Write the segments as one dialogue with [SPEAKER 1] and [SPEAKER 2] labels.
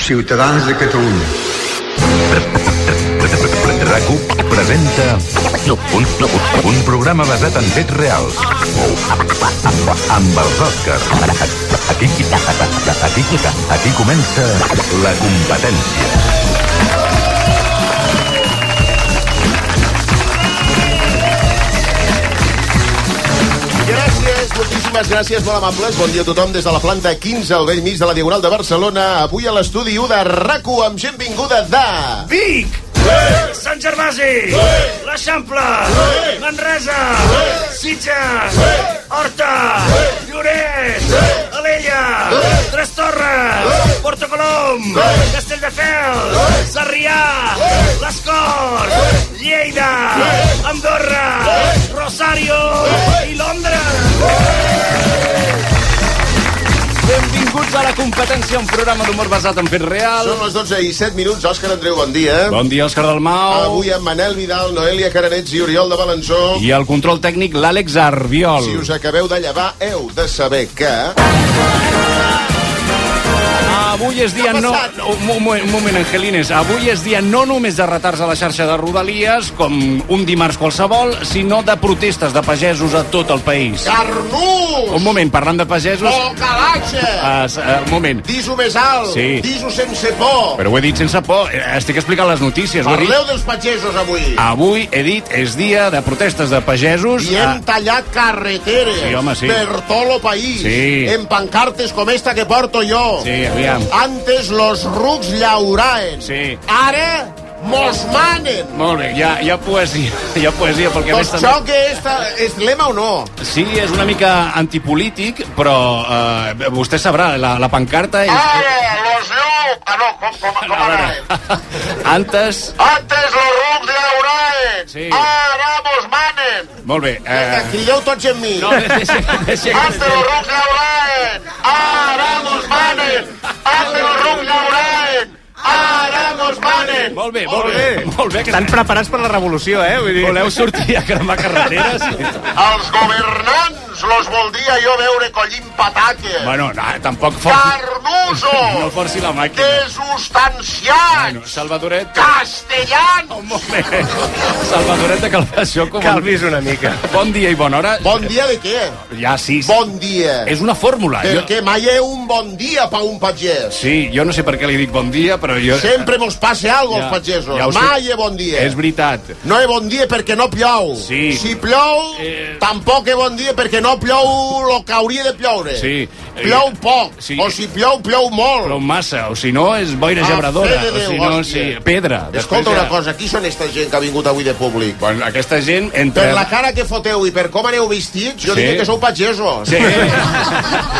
[SPEAKER 1] Ciutadans de Catalunya.
[SPEAKER 2] RAC1 presenta un, un programa basat en fets reals amb els Òscars. Aquí, aquí, aquí comença la competència.
[SPEAKER 3] Gràcies, moltíssimes gràcies, molt amables. Bon dia a tothom des de la planta 15 al vell mig de la Diagonal de Barcelona. Avui a l'estudi 1 de rac amb gent vinguda de...
[SPEAKER 4] Vic! Sant Gervasi! L'Eixample! Manresa! Sitges! Horta! Lloret! Alella! Tres Torres! Porto Colom! Castelldefels! Sarrià! Les Corts! Lleida! Andorra! Rosario! I Londres!
[SPEAKER 5] Benvinguts a la competència, un programa d'humor basat en fets reals.
[SPEAKER 3] Són les 12 i 7 minuts. Òscar Andreu, bon dia.
[SPEAKER 5] Bon dia, Òscar Dalmau.
[SPEAKER 3] Avui amb Manel Vidal, Noelia Caranets i Oriol de Balanzó.
[SPEAKER 5] I el control tècnic, l'Àlex Arbiol.
[SPEAKER 3] Si us acabeu de llevar, heu de saber que...
[SPEAKER 5] Avui és dia no... Un mo- mo- un moment, Angelines. Avui és dia no només de retards a la xarxa de Rodalies, com un dimarts qualsevol, sinó de protestes de pagesos a tot el país.
[SPEAKER 3] Carnús!
[SPEAKER 5] Un moment, parlant de pagesos...
[SPEAKER 3] Oh, calatge!
[SPEAKER 5] eh, s- eh, un moment.
[SPEAKER 3] Dis-ho més alt!
[SPEAKER 5] Sí.
[SPEAKER 3] Dis-ho sense por!
[SPEAKER 5] Però ho he dit sense por. Eh, Estic explicant les notícies. ho he dit.
[SPEAKER 3] Parleu dels pagesos avui!
[SPEAKER 5] Avui, he dit, és dia de protestes de pagesos.
[SPEAKER 3] I hem tallat carreteres
[SPEAKER 5] Sí, home, sí.
[SPEAKER 3] per tot el país.
[SPEAKER 5] Sí.
[SPEAKER 3] En pancartes com esta que porto jo.
[SPEAKER 5] eh, Sí, aviam.
[SPEAKER 3] Antes los rucs llauraen.
[SPEAKER 5] Sí.
[SPEAKER 3] Ara mos manen.
[SPEAKER 5] Molt bé, hi ha, hi ha poesia, hi ha poesia, perquè a
[SPEAKER 3] Doncs
[SPEAKER 5] més també...
[SPEAKER 3] això que esta, és lema o no?
[SPEAKER 5] Sí, és una mica antipolític, però eh, vostè sabrà, la, la pancarta és...
[SPEAKER 3] Ah. Ara los llu... Ah, no, com, com, com anàvem?
[SPEAKER 5] Antes...
[SPEAKER 3] Antes los rucs llauraen.
[SPEAKER 5] Sí.
[SPEAKER 3] Ara mos manen.
[SPEAKER 5] Molt bé.
[SPEAKER 3] Vinga,
[SPEAKER 5] Eh,
[SPEAKER 3] crideu tots amb mi.
[SPEAKER 5] no, deixa, deixa,
[SPEAKER 3] Antes los rucs llauraen. Ara mos manen. Antes los rucs llauraen. Ara mos manen.
[SPEAKER 5] Molt bé, molt bé. Molt bé, que
[SPEAKER 6] Estan preparats per la revolució, eh? Vull dir...
[SPEAKER 5] voleu sortir a cremar carreteres.
[SPEAKER 3] Els governants los voldria jo veure collint pataques.
[SPEAKER 5] Bueno, no, tampoc forci, no
[SPEAKER 3] Carnusos!
[SPEAKER 5] forci la màquina.
[SPEAKER 3] Desustanciats!
[SPEAKER 5] Bueno, Salvadoret...
[SPEAKER 3] Castellans!
[SPEAKER 5] Un moment. Salvadoret de Calvaixó, com...
[SPEAKER 6] Calvis una mica.
[SPEAKER 5] Bon dia i bona hora.
[SPEAKER 3] Bon dia de què?
[SPEAKER 5] Ja, sí. sí.
[SPEAKER 3] Bon dia.
[SPEAKER 5] És una fórmula. Eh, Jo-
[SPEAKER 3] Perquè mai és un bon dia pa un pagès.
[SPEAKER 5] Sí, jo no sé per què li dic bon dia, però jo...
[SPEAKER 3] Sempre mos passa alguna
[SPEAKER 5] Ja,
[SPEAKER 3] als pagesos.
[SPEAKER 5] ja ho sé.
[SPEAKER 3] mai és bon dia.
[SPEAKER 5] És veritat.
[SPEAKER 3] No és bon dia perquè no plou.
[SPEAKER 5] Sí.
[SPEAKER 3] Si plou,
[SPEAKER 5] Eh.
[SPEAKER 3] tampoc és bon dia perquè no plou el que hauria de ploure.
[SPEAKER 5] Sí. Eh,
[SPEAKER 3] Plou poc.
[SPEAKER 5] Sí.
[SPEAKER 3] O si plou, plou molt.
[SPEAKER 5] Plou massa, o si no és boira
[SPEAKER 3] Ah,
[SPEAKER 5] gebradora,
[SPEAKER 3] fe de Déu,
[SPEAKER 5] o si no, sí,
[SPEAKER 3] hòstia.
[SPEAKER 5] pedra.
[SPEAKER 3] Escolta
[SPEAKER 5] Després
[SPEAKER 3] una
[SPEAKER 5] ja-
[SPEAKER 3] cosa, qui són esta gent que ha vingut avui de públic?
[SPEAKER 5] Bueno, aquesta gent entre...
[SPEAKER 3] Per la cara que foteu i per com aneu vestits, jo
[SPEAKER 5] Sí.
[SPEAKER 3] diria que sou pagesos.
[SPEAKER 5] Sí.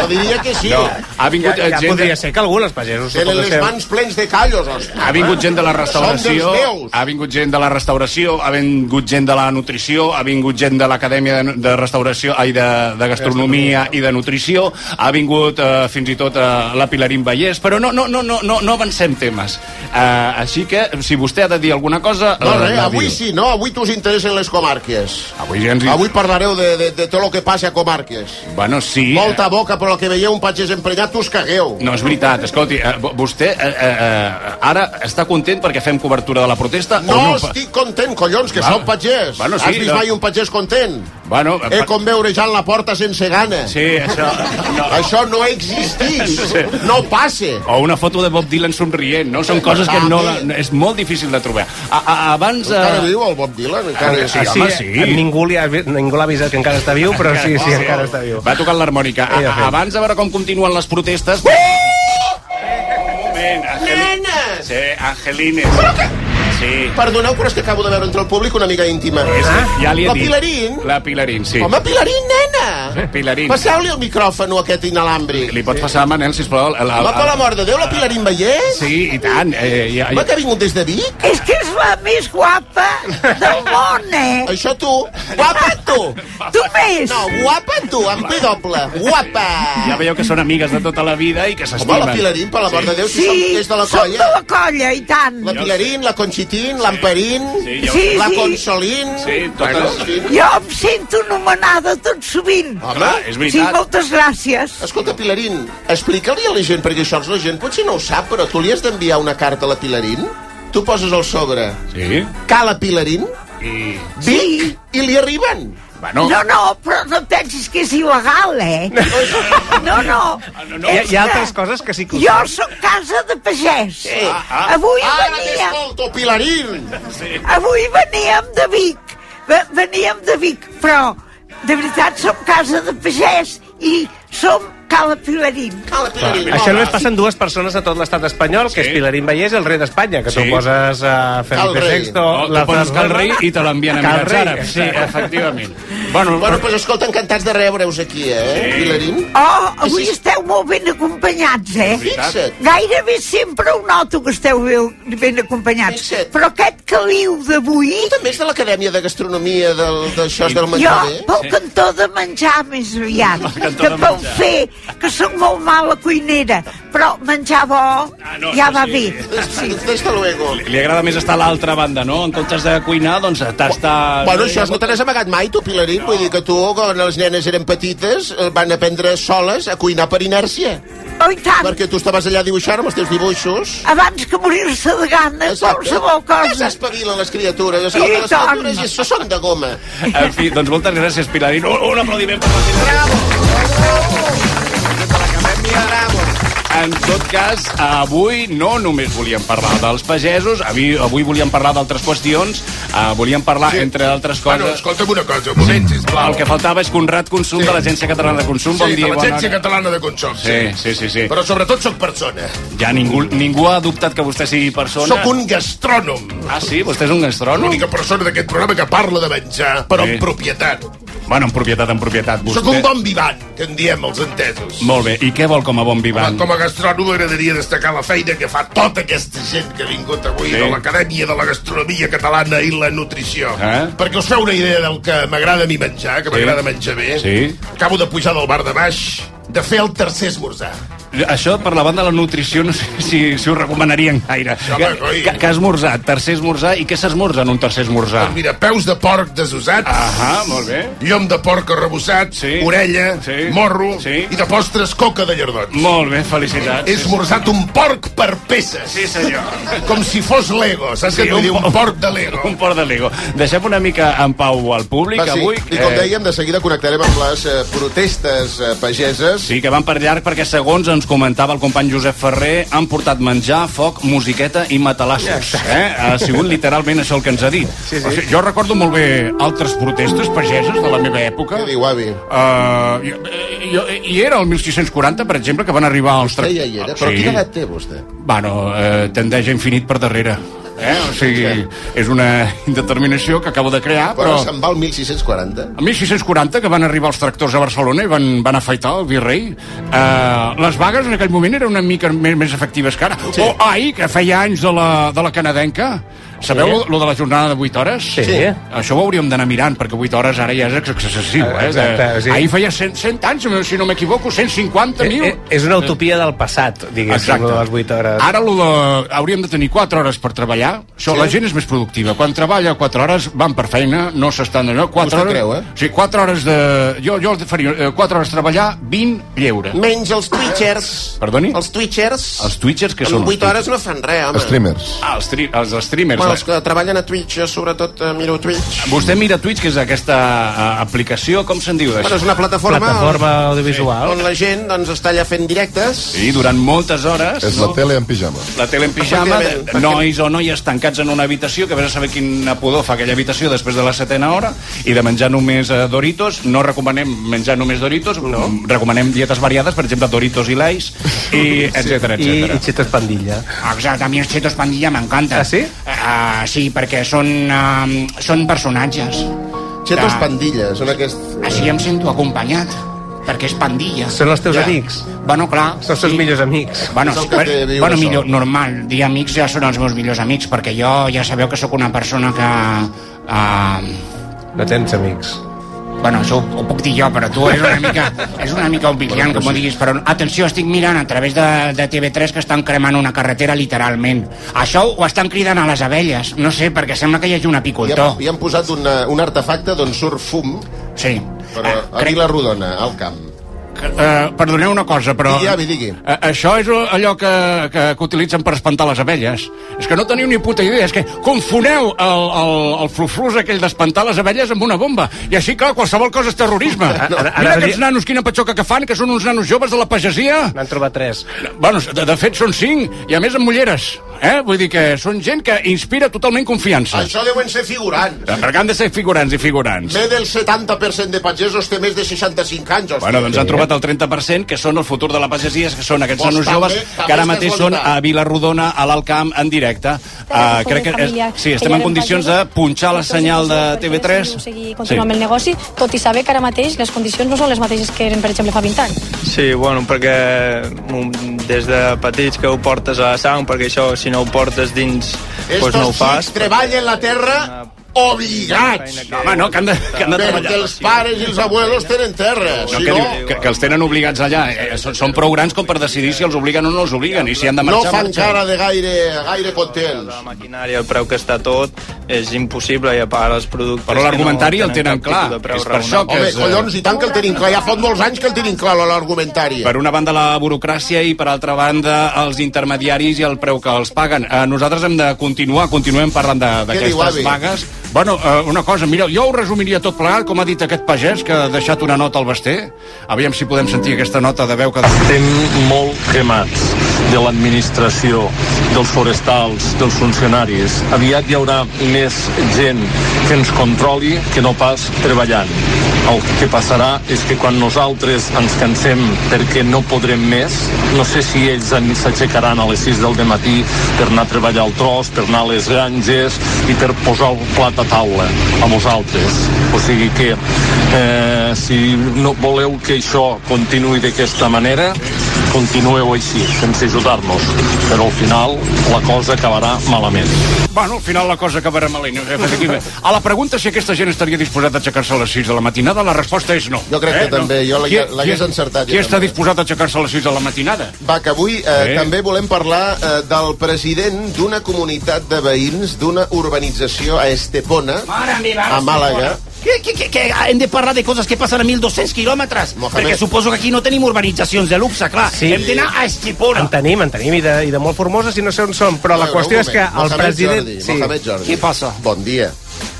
[SPEAKER 3] Jo diria que sí.
[SPEAKER 5] No, ha
[SPEAKER 6] Ja,
[SPEAKER 5] vingut eh,
[SPEAKER 6] ja
[SPEAKER 5] gent...
[SPEAKER 6] podria
[SPEAKER 5] De...
[SPEAKER 6] ser que algú, els pagesos...
[SPEAKER 3] Tenen les
[SPEAKER 6] suposo que-
[SPEAKER 3] mans plens de callos, hòstia.
[SPEAKER 5] Ha vingut gent de la
[SPEAKER 3] Són
[SPEAKER 5] restauració,
[SPEAKER 3] dels meus.
[SPEAKER 5] ha vingut gent de la restauració, ha vingut gent de la nutrició, ha vingut gent de l'acadèmia de, de restauració, ai, de, de gastronomia i de nutrició, ha vingut eh, fins i tot eh, la Pilarín Vallès, però no, no, no, no, no, no avancem temes. Eh, així que, si vostè ha de dir alguna cosa...
[SPEAKER 3] No, res,
[SPEAKER 5] la
[SPEAKER 3] avui
[SPEAKER 5] diu.
[SPEAKER 3] sí, no? Avui t'us interessen les comarques.
[SPEAKER 5] Avui ja ens... hi-
[SPEAKER 3] Avui parlareu de, de, de tot el que passa a comarques.
[SPEAKER 5] Bueno, sí. eh,
[SPEAKER 3] Molta boca, però el que veieu un pagès emprenyat, us cagueu.
[SPEAKER 5] No, és veritat. Escolti, eh, vo- vostè eh, eh, eh, ara està content perquè fem cobertura de la protesta?
[SPEAKER 3] No,
[SPEAKER 5] o no?
[SPEAKER 3] estic content, collons, que
[SPEAKER 5] Va.
[SPEAKER 3] sou pagès.
[SPEAKER 5] Bueno, sí,
[SPEAKER 3] Has vist
[SPEAKER 5] no.
[SPEAKER 3] mai un pagès content?
[SPEAKER 5] Bueno, eh,
[SPEAKER 3] He
[SPEAKER 5] per-
[SPEAKER 3] com veure ja en la porta sense gana.
[SPEAKER 5] Sí, això... No.
[SPEAKER 3] Això no existeix,
[SPEAKER 5] Sí.
[SPEAKER 3] no passa.
[SPEAKER 5] O una foto de Bob Dylan somrient, no? Són coses que no... la- no- És molt difícil de trobar. A, a, abans...
[SPEAKER 3] Encara
[SPEAKER 5] Eh,
[SPEAKER 3] viu el Bob Dylan? Encara...
[SPEAKER 5] Ah, Sí, home, sí.
[SPEAKER 6] Ningú, li ha, ningú l'ha avisat que encara està viu, però sí, sí, encara està viu.
[SPEAKER 5] va tocar l'harmònica. A-
[SPEAKER 6] Ella
[SPEAKER 5] a-
[SPEAKER 6] fent.
[SPEAKER 5] Abans de veure com continuen les protestes... Un moment, Angel...
[SPEAKER 3] Nenes!
[SPEAKER 5] Sí, Angelines. Sí.
[SPEAKER 3] Perdoneu, però és que acabo de veure entre el públic una mica íntima.
[SPEAKER 5] És, Ah, ja li he
[SPEAKER 3] La
[SPEAKER 5] dit.
[SPEAKER 3] Pilarín?
[SPEAKER 5] La Pilarín, sí.
[SPEAKER 3] Home, Pilarín, nena!
[SPEAKER 5] Pilarín.
[SPEAKER 3] Passeu-li el micròfon a aquest inalàmbric.
[SPEAKER 5] Li pot passar a Manel, sisplau... el- el-
[SPEAKER 3] Home, per
[SPEAKER 5] el-
[SPEAKER 3] l'amor de Déu, la Pilarín veiés?
[SPEAKER 5] Sí, i tant. Eh, ja,
[SPEAKER 3] Home, que ha vingut des de Vic?
[SPEAKER 7] És que és la més guapa del món, eh?
[SPEAKER 3] Això tu. Guapa tu!
[SPEAKER 7] Tu més!
[SPEAKER 3] No, guapa tu, amb P doble. Guapa!
[SPEAKER 5] ja veieu que són amigues de tota la vida i que
[SPEAKER 3] Home,
[SPEAKER 5] s'estimen.
[SPEAKER 3] la Pilarín, per l'amor de Déu, si
[SPEAKER 7] sí,
[SPEAKER 3] som des de la
[SPEAKER 7] som de
[SPEAKER 3] colla.
[SPEAKER 7] la colla, i tant.
[SPEAKER 3] La Pilarín, la Conchitín, l'Amperín,
[SPEAKER 5] Sí, ja ho-
[SPEAKER 7] Sí.
[SPEAKER 3] la Consolín...
[SPEAKER 5] Sí, totes-
[SPEAKER 3] Bueno, en fi.
[SPEAKER 7] Jo em sento nomenada tot sovint.
[SPEAKER 3] Home.
[SPEAKER 5] Clar, és
[SPEAKER 7] Sí,
[SPEAKER 5] veritat.
[SPEAKER 7] moltes gràcies.
[SPEAKER 3] Escolta, Pilarín, explica-li a la gent, perquè això la gent potser no ho sap, però tu li has d'enviar una carta a la Pilarín? Tu poses el sobre
[SPEAKER 5] Sí?
[SPEAKER 3] Cala Pilarín,
[SPEAKER 5] I...
[SPEAKER 3] Vic, i li arriben.
[SPEAKER 5] Bueno,
[SPEAKER 7] No, no, però no et pensis que és il·legal, eh? No, no.
[SPEAKER 5] no, no.
[SPEAKER 6] Hi, ha- hi ha
[SPEAKER 7] Extra.
[SPEAKER 6] altres coses que sí que...
[SPEAKER 7] Jo sóc casa de pagès.
[SPEAKER 3] ah.
[SPEAKER 7] Avui
[SPEAKER 3] Ara
[SPEAKER 7] veníem,
[SPEAKER 3] t'escolto, Pilarín!
[SPEAKER 7] avui veníem de Vic. Ve- Veníem de Vic, però de veritat som casa de pagès i som Cala Pilarín.
[SPEAKER 3] Cala Pilarín.
[SPEAKER 6] Això
[SPEAKER 3] Hola.
[SPEAKER 6] només passa en dues persones a tot l'estat espanyol, que
[SPEAKER 5] Ah, Sí.
[SPEAKER 6] és Pilarín Vallès i el rei d'Espanya, que
[SPEAKER 5] Sí.
[SPEAKER 6] tu poses eh, a Felipe
[SPEAKER 3] rei.
[SPEAKER 6] VI,
[SPEAKER 5] No, tu
[SPEAKER 6] la
[SPEAKER 5] poses
[SPEAKER 6] Fernanda-
[SPEAKER 5] Cal Rei i te l'envien a
[SPEAKER 6] Cal
[SPEAKER 5] Emirats
[SPEAKER 6] Rei,
[SPEAKER 5] Àrabs. Sí,
[SPEAKER 6] exacte.
[SPEAKER 5] efectivament. Bueno,
[SPEAKER 3] Bueno, doncs escolta, encantats de rebreus aquí, eh, Pilarín?
[SPEAKER 7] Oh, avui
[SPEAKER 3] Així-
[SPEAKER 7] esteu molt ben acompanyats, eh?
[SPEAKER 3] Fixa't.
[SPEAKER 7] Gairebé sempre ho noto que esteu ben, ben acompanyats.
[SPEAKER 3] Fixa't.
[SPEAKER 7] Però aquest caliu d'avui,
[SPEAKER 3] Tu també és de l'Acadèmia de Gastronomia del, d'això del eh?
[SPEAKER 7] jo
[SPEAKER 3] Mercader?
[SPEAKER 7] pel cantó de menjar més aviat,
[SPEAKER 5] cantó
[SPEAKER 7] que
[SPEAKER 5] de
[SPEAKER 7] pel
[SPEAKER 5] menjar.
[SPEAKER 7] fer, que sóc molt mala cuinera, però menjar bo
[SPEAKER 5] Ah, no,
[SPEAKER 7] ja
[SPEAKER 5] això
[SPEAKER 7] va
[SPEAKER 5] sí.
[SPEAKER 7] bé.
[SPEAKER 3] Sí. Des de luego.
[SPEAKER 5] li agrada més estar a l'altra banda, no? En comptes de cuinar, doncs t'està...
[SPEAKER 3] Bueno, això no te n'has amagat mai, tu, Pilarín. Vull dir que tu, quan les nenes eren petites, eh, van aprendre soles a cuinar per inèrcia.
[SPEAKER 7] Oh, i tant,
[SPEAKER 3] Perquè tu estaves allà dibuixant amb els teus dibuixos.
[SPEAKER 7] abans que morir-se de gana, qualsevol
[SPEAKER 3] Ja
[SPEAKER 7] cosa.
[SPEAKER 3] s'espavilen les criatures. Escolta,
[SPEAKER 7] I
[SPEAKER 3] les
[SPEAKER 7] tant.
[SPEAKER 3] criatures això són de goma.
[SPEAKER 5] En fi, doncs moltes gràcies, Pilarín. Un, un aplaudiment per la Pilarín. En tot cas, avui no només volíem parlar dels pagesos, avui, avui volíem parlar d'altres qüestions, eh, volíem parlar, sí. entre altres coses...
[SPEAKER 8] Bueno, escolta'm una cosa, un moment, sisplau.
[SPEAKER 5] El que faltava és Conrad Consum
[SPEAKER 8] Sí.
[SPEAKER 5] de l'Agència Catalana de Consum.
[SPEAKER 8] Sí,
[SPEAKER 5] bon dia,
[SPEAKER 8] de
[SPEAKER 5] i bona
[SPEAKER 8] l'Agència
[SPEAKER 5] hora.
[SPEAKER 8] Catalana de Consum.
[SPEAKER 5] Sí, sí, sí, sí.
[SPEAKER 8] Però sobretot sóc persona.
[SPEAKER 5] Ja ningú, ningú ha dubtat que vostè sigui persona.
[SPEAKER 8] Sóc un gastrònom.
[SPEAKER 5] Ah, sí? Vostè és un gastrònom?
[SPEAKER 8] L'única persona d'aquest programa que parla de menjar, però
[SPEAKER 5] Sí.
[SPEAKER 8] amb propietat.
[SPEAKER 5] Bueno, en propietat, en propietat. Vostè...
[SPEAKER 8] Sóc un bon vivant, que en diem els entesos.
[SPEAKER 5] Molt bé, i què vol com a bon
[SPEAKER 8] Home,
[SPEAKER 5] vivant?
[SPEAKER 8] Com a gastrònom m'agradaria destacar la feina que fa tota aquesta gent que ha vingut avui
[SPEAKER 5] Sí.
[SPEAKER 8] sí. de l'Acadèmia de la Gastronomia Catalana i la Nutrició.
[SPEAKER 5] Eh?
[SPEAKER 8] Perquè us feu una idea del que m'agrada a mi menjar, que
[SPEAKER 5] Sí.
[SPEAKER 8] m'agrada menjar bé.
[SPEAKER 5] Sí.
[SPEAKER 8] Acabo de pujar del bar de baix, de fer el tercer esmorzar.
[SPEAKER 5] Això, per la banda de la nutrició, no sé si, si ho recomanarien gaire.
[SPEAKER 8] Home, coi.
[SPEAKER 5] que, que ha esmorzat, tercer esmorzar, i què s'esmorza en un tercer esmorzar?
[SPEAKER 8] Doncs mira, peus de porc desusats,
[SPEAKER 5] Ahà, molt bé.
[SPEAKER 8] llom de porc arrebossat,
[SPEAKER 5] Sí.
[SPEAKER 8] orella,
[SPEAKER 5] Sí.
[SPEAKER 8] morro
[SPEAKER 5] Sí.
[SPEAKER 8] i de postres coca de llardons.
[SPEAKER 5] Molt bé, felicitats.
[SPEAKER 8] He esmorzat un porc per peces.
[SPEAKER 5] Sí, senyor.
[SPEAKER 8] Com si fos Lego, saps
[SPEAKER 5] Sí,
[SPEAKER 8] què t'ho
[SPEAKER 5] un
[SPEAKER 8] diu?
[SPEAKER 5] po-
[SPEAKER 8] Un porc de Lego.
[SPEAKER 5] Un port de Lego. Deixem una mica en pau al públic
[SPEAKER 3] Va, sí.
[SPEAKER 5] avui. eh,
[SPEAKER 3] I com dèiem, de seguida connectarem amb les eh, protestes eh, pageses.
[SPEAKER 5] Sí, que van per llarg perquè, segons ens comentava el company Josep Ferrer, han portat menjar, foc, musiqueta i matalassos. Eh? Ha sigut literalment això el que ens ha dit. Sí, sí. O sigui, jo recordo molt bé altres protestes pageses de la meva època.
[SPEAKER 3] Què diu, avi?
[SPEAKER 5] Uh, jo, jo, I era el 1640, per exemple, que van arribar els...
[SPEAKER 3] Vostè ja hi era, Ah, però
[SPEAKER 5] sí.
[SPEAKER 3] quina edat té vostè?
[SPEAKER 5] Bueno, eh, tendeix a infinit per darrere. Eh? O sigui, és una indeterminació que acabo de crear,
[SPEAKER 3] Però
[SPEAKER 5] però...
[SPEAKER 3] se'n va al 1640.
[SPEAKER 5] El 1640, que van arribar els tractors a Barcelona i van, van afaitar el virrei, eh, les vagues en aquell moment eren una mica més, més efectives que ara. Sí. O AI, que feia anys de la, de la canadenca. Sabeu sí. lo de la jornada de 8 hores?
[SPEAKER 6] Sí. Sí.
[SPEAKER 5] Això ho hauríem d'anar mirant, perquè 8 hores ara ja és ex- excessiu. Eh?
[SPEAKER 6] Exacte,
[SPEAKER 5] De-
[SPEAKER 6] sí.
[SPEAKER 5] Ahir feia 100, 100 anys, si no m'equivoco, 150.000.
[SPEAKER 6] Eh, eh, és una utopia del passat, diguéssim,
[SPEAKER 5] Exacte.
[SPEAKER 6] lo de les 8 hores.
[SPEAKER 5] Ara lo de... hauríem de tenir 4 hores per treballar. Això, sí. la gent és més productiva. Quan treballa 4 hores, van per feina, no s'estan... No? 4
[SPEAKER 3] Vostè
[SPEAKER 5] hores...
[SPEAKER 3] creu, eh?
[SPEAKER 5] Sí, 4 hores de... Jo, jo els faria eh, 4 hores treballar, 20 lleure.
[SPEAKER 3] Menys els twitchers.
[SPEAKER 5] Perdoni?
[SPEAKER 3] Els twitchers.
[SPEAKER 5] Els twitchers que
[SPEAKER 3] en
[SPEAKER 5] són... els
[SPEAKER 3] 8 hores no fan res, home.
[SPEAKER 8] Streamers.
[SPEAKER 5] twitchers? Ah, els, tri... els streamers. eh.
[SPEAKER 3] Bueno,
[SPEAKER 5] Bueno,
[SPEAKER 3] els que treballen a Twitch, jo sobretot eh, miro Twitch.
[SPEAKER 5] Vostè mira Twitch, que és aquesta eh, aplicació, com se'n diu
[SPEAKER 3] Bueno,
[SPEAKER 5] d'això?
[SPEAKER 3] és una plataforma,
[SPEAKER 6] Plataforma audiovisual.
[SPEAKER 3] on la gent doncs, està allà fent directes.
[SPEAKER 5] Sí, durant moltes hores... no?
[SPEAKER 8] tele en pijama.
[SPEAKER 5] la tele en pijama,
[SPEAKER 3] Efectivament,
[SPEAKER 5] de nois o noies tancats en una habitació, que vés a saber quina pudor fa aquella habitació després de la setena hora, i de menjar només eh, Doritos, no recomanem menjar només Doritos, no. recomanem dietes variades, per exemple, Doritos i Lays, i etcètera,
[SPEAKER 6] I, i
[SPEAKER 5] etcètera.
[SPEAKER 6] xites pandilla.
[SPEAKER 5] Exacte, a mi els Chetos Pandilla m'encanta.
[SPEAKER 6] Ah, sí?
[SPEAKER 5] Uh, sí, perquè són, uh, són personatges.
[SPEAKER 3] Chetos
[SPEAKER 5] Ja.
[SPEAKER 3] pandilles, són aquests...
[SPEAKER 5] Així em sento acompanyat, perquè és pandilla.
[SPEAKER 6] Són els teus
[SPEAKER 3] Ja.
[SPEAKER 6] amics?
[SPEAKER 5] Bueno, clar.
[SPEAKER 6] Són els teus millors amics?
[SPEAKER 5] Bueno,
[SPEAKER 3] És el que
[SPEAKER 5] per,
[SPEAKER 3] té viure
[SPEAKER 5] bueno
[SPEAKER 3] sol.
[SPEAKER 5] millor, normal, dir amics ja són els meus millors amics, perquè jo ja sabeu que sóc una persona que... Uh,
[SPEAKER 6] No tens amics.
[SPEAKER 5] bueno, això ho, ho puc dir jo, però tu és una mica, és una mica humiliant, com ho diguis, però atenció, estic mirant a través de, de TV3 que estan cremant una carretera literalment. Això ho estan cridant a les abelles, no sé, perquè sembla que hi hagi un
[SPEAKER 3] Hi,
[SPEAKER 5] apicultor.
[SPEAKER 3] ha, hi han posat una, un artefacte eh, d'on surt fum
[SPEAKER 5] Sí.
[SPEAKER 3] Però
[SPEAKER 5] Ah,
[SPEAKER 3] a Vila Rodona, al camp.
[SPEAKER 5] Eh, perdoneu una cosa, però...
[SPEAKER 3] Digui, avi, digui.
[SPEAKER 5] Eh, això és allò que, que, que utilitzen per espantar les abelles. És que no teniu ni puta idea, és que confoneu el, el, el fluflus aquell d'espantar les abelles amb una bomba. I així, clar, qualsevol cosa és terrorisme.
[SPEAKER 6] No, ara-
[SPEAKER 5] Mira
[SPEAKER 6] ara
[SPEAKER 5] aquests
[SPEAKER 6] diria-
[SPEAKER 5] nanos, quina patxoca que fan, que són uns nanos joves de la pagesia.
[SPEAKER 6] N'han trobat tres.
[SPEAKER 5] Bueno, de, de fet són cinc, i a més amb mulleres. Eh? Vull dir que són gent que inspira totalment confiança. Eh,
[SPEAKER 3] Això deuen ser figurants.
[SPEAKER 5] Perquè han de ser figurants i figurants.
[SPEAKER 3] Més del 70% de pagesos té més de 65 anys. Hòstia.
[SPEAKER 5] Bueno, doncs han trobat el 30%, que són el futur de la pagesia, que són aquests
[SPEAKER 3] Doncs
[SPEAKER 5] nanos
[SPEAKER 3] també-
[SPEAKER 5] joves
[SPEAKER 3] també
[SPEAKER 5] que ara
[SPEAKER 3] és
[SPEAKER 5] mateix són
[SPEAKER 3] casualitat.
[SPEAKER 5] a Vilarrodona, a l'Alt Camp, en directe. Uh,
[SPEAKER 9] Foguer
[SPEAKER 5] crec que eh,
[SPEAKER 9] familiar.
[SPEAKER 5] sí,
[SPEAKER 9] Ella
[SPEAKER 5] estem en
[SPEAKER 9] era
[SPEAKER 5] condicions de
[SPEAKER 9] pagesa,
[SPEAKER 5] punxar la
[SPEAKER 9] entonces,
[SPEAKER 5] senyal de
[SPEAKER 9] doncs, perquè
[SPEAKER 5] TV3.
[SPEAKER 9] decidiu seguir
[SPEAKER 5] Sí.
[SPEAKER 9] continuar amb el negoci, tot i saber que ara mateix les condicions no són les mateixes que eren, per exemple, fa 20 anys.
[SPEAKER 10] Sí, bueno, perquè mm, des de petits que ho portes a la sang, perquè això, si no ho portes dins, doncs no ho
[SPEAKER 3] Estos
[SPEAKER 10] fas.
[SPEAKER 3] xics treballen la terra obligats.
[SPEAKER 10] Feina
[SPEAKER 5] Home, no, que han de, que han de
[SPEAKER 3] Perquè
[SPEAKER 5] treballar.
[SPEAKER 3] els pares i els abuelos tenen terra.
[SPEAKER 5] No,
[SPEAKER 3] Si
[SPEAKER 5] que,
[SPEAKER 3] no,
[SPEAKER 5] diu, que, que els tenen obligats allà. Eh, són, són prou grans com per decidir si els obliguen o no els obliguen. I si han de
[SPEAKER 3] no
[SPEAKER 5] marxar,
[SPEAKER 3] fan
[SPEAKER 5] marxen.
[SPEAKER 3] cara de gaire, gaire contents.
[SPEAKER 10] La maquinària, el preu que està tot, és impossible, i a part els productes...
[SPEAKER 5] Però l'argumentari
[SPEAKER 10] que
[SPEAKER 5] el tenen
[SPEAKER 10] cap
[SPEAKER 5] clar,
[SPEAKER 10] tipus de preu
[SPEAKER 5] és per això que
[SPEAKER 3] Home,
[SPEAKER 5] és, eh,
[SPEAKER 3] collons, i tant que el tenim clar. Ja fot molts anys que el tenim clar, l'argumentari.
[SPEAKER 5] Per una banda la burocràcia i per altra banda els intermediaris i el preu que els paguen. Eh, nosaltres hem de continuar, continuem parlant de-
[SPEAKER 3] diu,
[SPEAKER 5] d'aquestes
[SPEAKER 3] avi?
[SPEAKER 5] vagues. Bueno, eh, una cosa, mira, jo ho resumiria tot plegat, com ha dit aquest pagès que ha deixat una nota al Basté. Aviam si podem sentir aquesta nota de veu que...
[SPEAKER 11] estem molt cremats de l'administració, dels forestals, dels funcionaris. Aviat hi haurà més gent que ens controli que no pas treballant. El que passarà és que quan nosaltres ens cansem perquè no podrem més, no sé si ells en- s'aixecaran a les 6 del matí per anar a treballar al tros, per anar a les granges i per posar el plat a taula a vosaltres. O sigui que eh, si no voleu que això continuï d'aquesta manera, continueu així, sense ajudar-nos. Però al final la cosa acabarà malament.
[SPEAKER 5] Bueno, al final la cosa acabarà malament. Eh, per aquí ve. A la pregunta si aquesta gent estaria disposada a aixecar-se a les 6 de la matinada, la resposta és no.
[SPEAKER 3] Jo crec que també, jo l'hagués-
[SPEAKER 5] Qui-
[SPEAKER 3] l'hagués
[SPEAKER 5] qui-
[SPEAKER 3] encertat, jo
[SPEAKER 5] Qui està
[SPEAKER 3] també.
[SPEAKER 5] disposat a aixecar-se a les 6 de la matinada?
[SPEAKER 3] Va, que avui eh,
[SPEAKER 5] Bé.
[SPEAKER 3] també volem parlar eh, del president d'una comunitat de veïns d'una urbanització a Estepona,
[SPEAKER 4] Mare meva,
[SPEAKER 3] a Màlaga.
[SPEAKER 4] Que, que, que, que hem de parlar de coses que passen a 1.200 quilòmetres.
[SPEAKER 3] Mohamed.
[SPEAKER 4] Perquè suposo que aquí no tenim urbanitzacions de luxe, clar. Sí. Hem d'anar a Estepona.
[SPEAKER 6] En tenim, en tenim, i de, i de molt formosa, si no sé on són. Però la
[SPEAKER 3] Veure,
[SPEAKER 6] qüestió
[SPEAKER 3] un
[SPEAKER 6] és que
[SPEAKER 3] moment.
[SPEAKER 6] el
[SPEAKER 3] Mohamed
[SPEAKER 6] president...
[SPEAKER 3] Jordi,
[SPEAKER 6] Sí.
[SPEAKER 3] Mohamed Jordi.
[SPEAKER 4] Què passa?
[SPEAKER 3] Bon dia.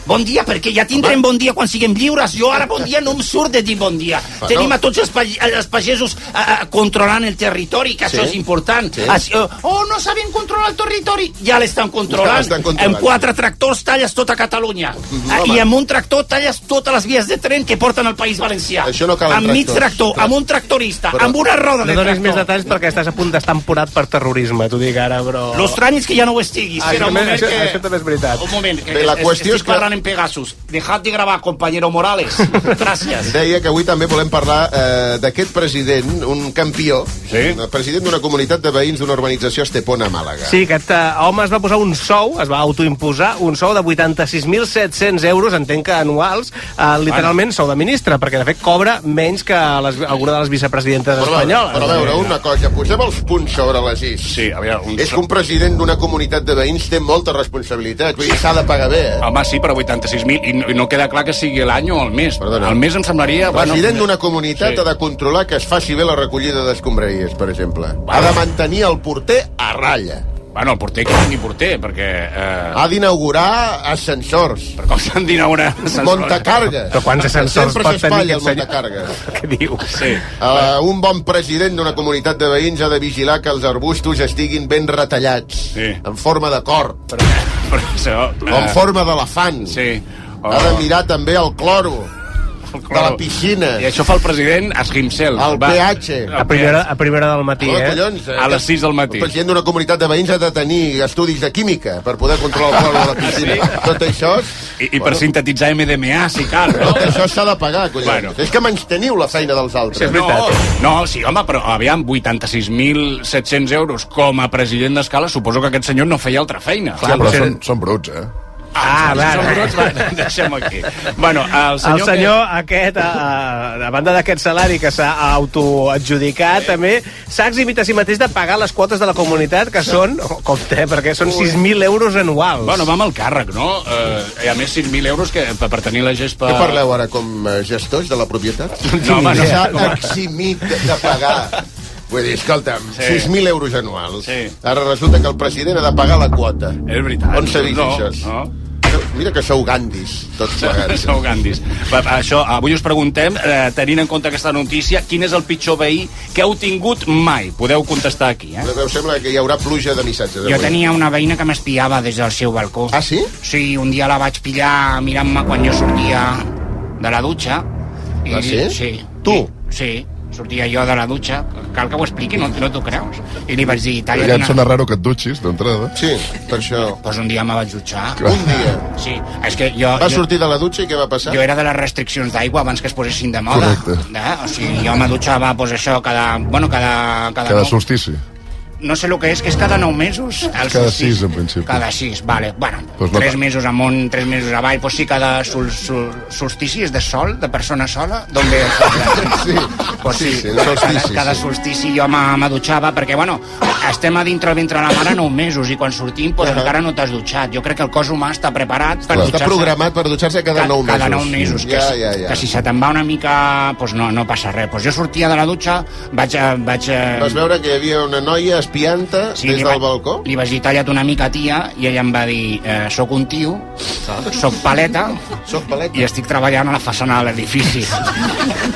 [SPEAKER 4] Bon dia, perquè ja tindrem bon dia quan siguem lliures. Jo ara bon dia no em surt de dir bon dia.
[SPEAKER 3] Però-
[SPEAKER 4] Tenim a tots els, pa els pagesos eh, eh, controlant el territori, que
[SPEAKER 3] Sí.
[SPEAKER 4] això és important.
[SPEAKER 3] Sí.
[SPEAKER 4] Així, eh, oh, no saben controlar el territori. Ja l'estan
[SPEAKER 3] Ja
[SPEAKER 4] controlant.
[SPEAKER 3] l'estan controlant.
[SPEAKER 4] Amb quatre tractors talles tota Catalunya. Eh,
[SPEAKER 3] home.
[SPEAKER 4] I amb un tractor talles totes les vies de tren que porten al País Valencià.
[SPEAKER 3] Això no calen
[SPEAKER 4] amb mig
[SPEAKER 3] tractors.
[SPEAKER 4] tractor, amb un tractorista,
[SPEAKER 3] Però-
[SPEAKER 4] amb una roda
[SPEAKER 6] No
[SPEAKER 4] de
[SPEAKER 6] donis
[SPEAKER 4] tractor.
[SPEAKER 6] més detalls perquè estàs a punt d'estar emporat per terrorisme, t'ho dic ara, però...
[SPEAKER 4] Lo estrany és que ja no ho estiguis.
[SPEAKER 6] Això
[SPEAKER 4] Espera un
[SPEAKER 6] també-
[SPEAKER 4] moment
[SPEAKER 6] això-
[SPEAKER 4] que...
[SPEAKER 6] això també és veritat.
[SPEAKER 4] Un moment, que
[SPEAKER 3] Bé, la
[SPEAKER 4] es-
[SPEAKER 3] qüestió
[SPEAKER 4] estic
[SPEAKER 3] és que-
[SPEAKER 4] parlant en Pegasus. Dejad de gravar, compañero Morales. Gràcies.
[SPEAKER 3] Deia que avui també volem parlar eh, d'aquest president, un campió,
[SPEAKER 5] Sí.
[SPEAKER 3] un president d'una comunitat de veïns d'una urbanització a Estepona, a Màlaga.
[SPEAKER 6] Sí, aquest eh, home es va posar un sou, es va autoimposar un sou de 86.700 euros, entenc que anuals, eh, literalment sou de ministre, perquè de fet cobra menys que les, alguna de les vicepresidentes
[SPEAKER 3] Però a veure,
[SPEAKER 6] espanyoles.
[SPEAKER 3] però a veure, una cosa, posem els punts sobre les is.
[SPEAKER 5] eh? Sí, a veure... Un...
[SPEAKER 3] És que un president d'una comunitat de veïns té molta responsabilitat, vull dir, s'ha de pagar bé, eh?
[SPEAKER 5] Home, sí, però 86.000, i no, i no queda clar que sigui l'any o el mes.
[SPEAKER 3] Perdona.
[SPEAKER 5] El mes em semblaria...
[SPEAKER 3] El president
[SPEAKER 5] bueno,
[SPEAKER 3] d'una comunitat
[SPEAKER 5] Sí.
[SPEAKER 3] ha de controlar que es faci bé la recollida d'escombraries, per exemple. Ha de mantenir el porter a ratlla.
[SPEAKER 5] Bueno, el porter, que ni porter, perquè... Eh,
[SPEAKER 3] Ha d'inaugurar ascensors.
[SPEAKER 5] per com s'han d'inaugurar...
[SPEAKER 3] Montacargues.
[SPEAKER 6] Però quants ascensors
[SPEAKER 3] Sempre
[SPEAKER 6] pot tenir
[SPEAKER 3] s'espatlla el
[SPEAKER 6] aquest senyor?
[SPEAKER 3] montacargues.
[SPEAKER 6] Què diu?
[SPEAKER 5] Sí.
[SPEAKER 3] Uh, un bon president d'una comunitat de veïns ha de vigilar que els arbustos estiguin ben retallats,
[SPEAKER 5] Sí.
[SPEAKER 3] en forma de cor,
[SPEAKER 5] Però això... eh.
[SPEAKER 3] o en forma d'elefant.
[SPEAKER 5] Sí. O-
[SPEAKER 3] Ha de mirar també el cloro
[SPEAKER 5] el
[SPEAKER 3] de la
[SPEAKER 5] cloro.
[SPEAKER 3] piscina.
[SPEAKER 5] I això fa el president a Esquimcel.
[SPEAKER 3] El PH.
[SPEAKER 6] A primera, a primera hora del matí,
[SPEAKER 3] Hola,
[SPEAKER 6] eh?
[SPEAKER 3] collons, eh?
[SPEAKER 5] A les sis del matí.
[SPEAKER 3] El president d'una comunitat de veïns ha de tenir estudis de química per poder controlar el cloro de la piscina.
[SPEAKER 5] Ah, sí?
[SPEAKER 3] Tot això...
[SPEAKER 5] I, I per sintetitzar MDMA, si cal, no?
[SPEAKER 3] Tot això s'ha de pagar, collons.
[SPEAKER 5] Bueno.
[SPEAKER 3] És que menys teniu la feina dels altres.
[SPEAKER 5] No, no, sí, home, però aviam, 86.700 euros com a president d'escala, suposo que aquest senyor no feia altra feina.
[SPEAKER 8] Hòstia, però són, són bruts, eh?
[SPEAKER 6] Ah,
[SPEAKER 5] els
[SPEAKER 6] va, va.
[SPEAKER 5] embrots, va, deixem aquí. Bueno, el senyor...
[SPEAKER 6] el senyor aquest, eh, a, a, a banda d'aquest salari que s'ha autoadjudicat, també s'ha eximit a si mateix de pagar les quotes de la comunitat, que són, oh, compte, eh, perquè són 6.000 euros anuals.
[SPEAKER 5] Bueno, va amb el càrrec, no? Eh, a més, 6.000 euros que, per, per tenir la gespa...
[SPEAKER 3] Què parleu ara, com eh, gestors de la propietat?
[SPEAKER 5] No, home, no.
[SPEAKER 3] S'ha eximit de, de pagar. Vull dir, escolta'm,
[SPEAKER 5] Sí.
[SPEAKER 3] sí. 6.000 euros anuals. Sí. Ara resulta que el president ha de pagar la quota.
[SPEAKER 5] És veritat.
[SPEAKER 3] On s'ha vist
[SPEAKER 5] No,
[SPEAKER 3] això? No. Mira que sou gandis, tots plegats. eh?
[SPEAKER 5] Sou Gandhis. Va, va, això, avui us preguntem, eh, tenint en compte aquesta notícia, quin és el pitjor veí que heu tingut mai? Podeu contestar aquí, eh?
[SPEAKER 3] Però em sembla que hi haurà pluja de missatges.
[SPEAKER 12] Jo
[SPEAKER 3] avui.
[SPEAKER 12] tenia una veïna que m'espiava des del seu balcó.
[SPEAKER 3] Ah, sí?
[SPEAKER 12] Sí, un dia la vaig pillar mirant-me quan jo sortia de la dutxa.
[SPEAKER 3] Ah, sí?
[SPEAKER 12] Sí.
[SPEAKER 3] Tu?
[SPEAKER 12] Sí, sortia jo de la dutxa. Cal que ho expliqui, no, no t'ho creus. I li vaig dir... "Talla,
[SPEAKER 13] Ja et
[SPEAKER 12] nena".
[SPEAKER 13] sona raro que et dutxis, d'entrada.
[SPEAKER 3] Sí, per això.
[SPEAKER 12] Doncs un dia me vaig dutxar.
[SPEAKER 3] Un dia?
[SPEAKER 12] Sí, és que jo...
[SPEAKER 3] Va
[SPEAKER 12] jo...
[SPEAKER 3] sortir de la dutxa i què va passar?
[SPEAKER 12] Jo era de les restriccions d'aigua abans que es posessin de moda.
[SPEAKER 13] Correcte.
[SPEAKER 12] Eh? O sigui, jo me dutxava, doncs això, cada... Bueno, cada... Cada,
[SPEAKER 13] Cada
[SPEAKER 12] nou-
[SPEAKER 13] solstici.
[SPEAKER 12] No sé el que és, que és cada 9 mesos. El
[SPEAKER 13] Cada
[SPEAKER 12] solstici.
[SPEAKER 13] sis, en principi.
[SPEAKER 12] Cada sis, vale. Bueno,
[SPEAKER 3] Doncs
[SPEAKER 13] Pues
[SPEAKER 12] pues
[SPEAKER 13] no-
[SPEAKER 12] no... tres mesos amunt, tres mesos avall, pues sí, cada sol, sol, solstici és de sol, de persona sola, d'on ve el sol.
[SPEAKER 3] Sí,
[SPEAKER 12] pues sí,
[SPEAKER 3] sí, el solstici,
[SPEAKER 12] Cada, cada
[SPEAKER 3] sí.
[SPEAKER 12] solstici jo me, me dutxava, perquè, bueno, estem a dintre el ventre de la mare 9 mesos i quan sortim, pues
[SPEAKER 3] Ahà.
[SPEAKER 12] encara no t'has dutxat. Jo crec que el cos humà està preparat per
[SPEAKER 3] Clar,
[SPEAKER 12] dutxar-se.
[SPEAKER 3] Està programat per dutxar-se cada 9 mesos.
[SPEAKER 12] Cada 9 mesos, que,
[SPEAKER 3] ja,
[SPEAKER 12] si-
[SPEAKER 3] ja, ja.
[SPEAKER 12] que si se te'n va una mica, pues no, no passa res. Pues jo sortia de la dutxa, vaig... eh, vaig eh,
[SPEAKER 3] Vas veure que hi havia una noia espianta
[SPEAKER 12] Sí,
[SPEAKER 3] des
[SPEAKER 12] li
[SPEAKER 3] del
[SPEAKER 12] vaig-
[SPEAKER 3] balcó?
[SPEAKER 12] Li vaig dir talla't una mica, tia, i ella em va dir eh, soc un tio, soc paleta,
[SPEAKER 3] soc paleta
[SPEAKER 12] i estic treballant a la façana de l'edifici.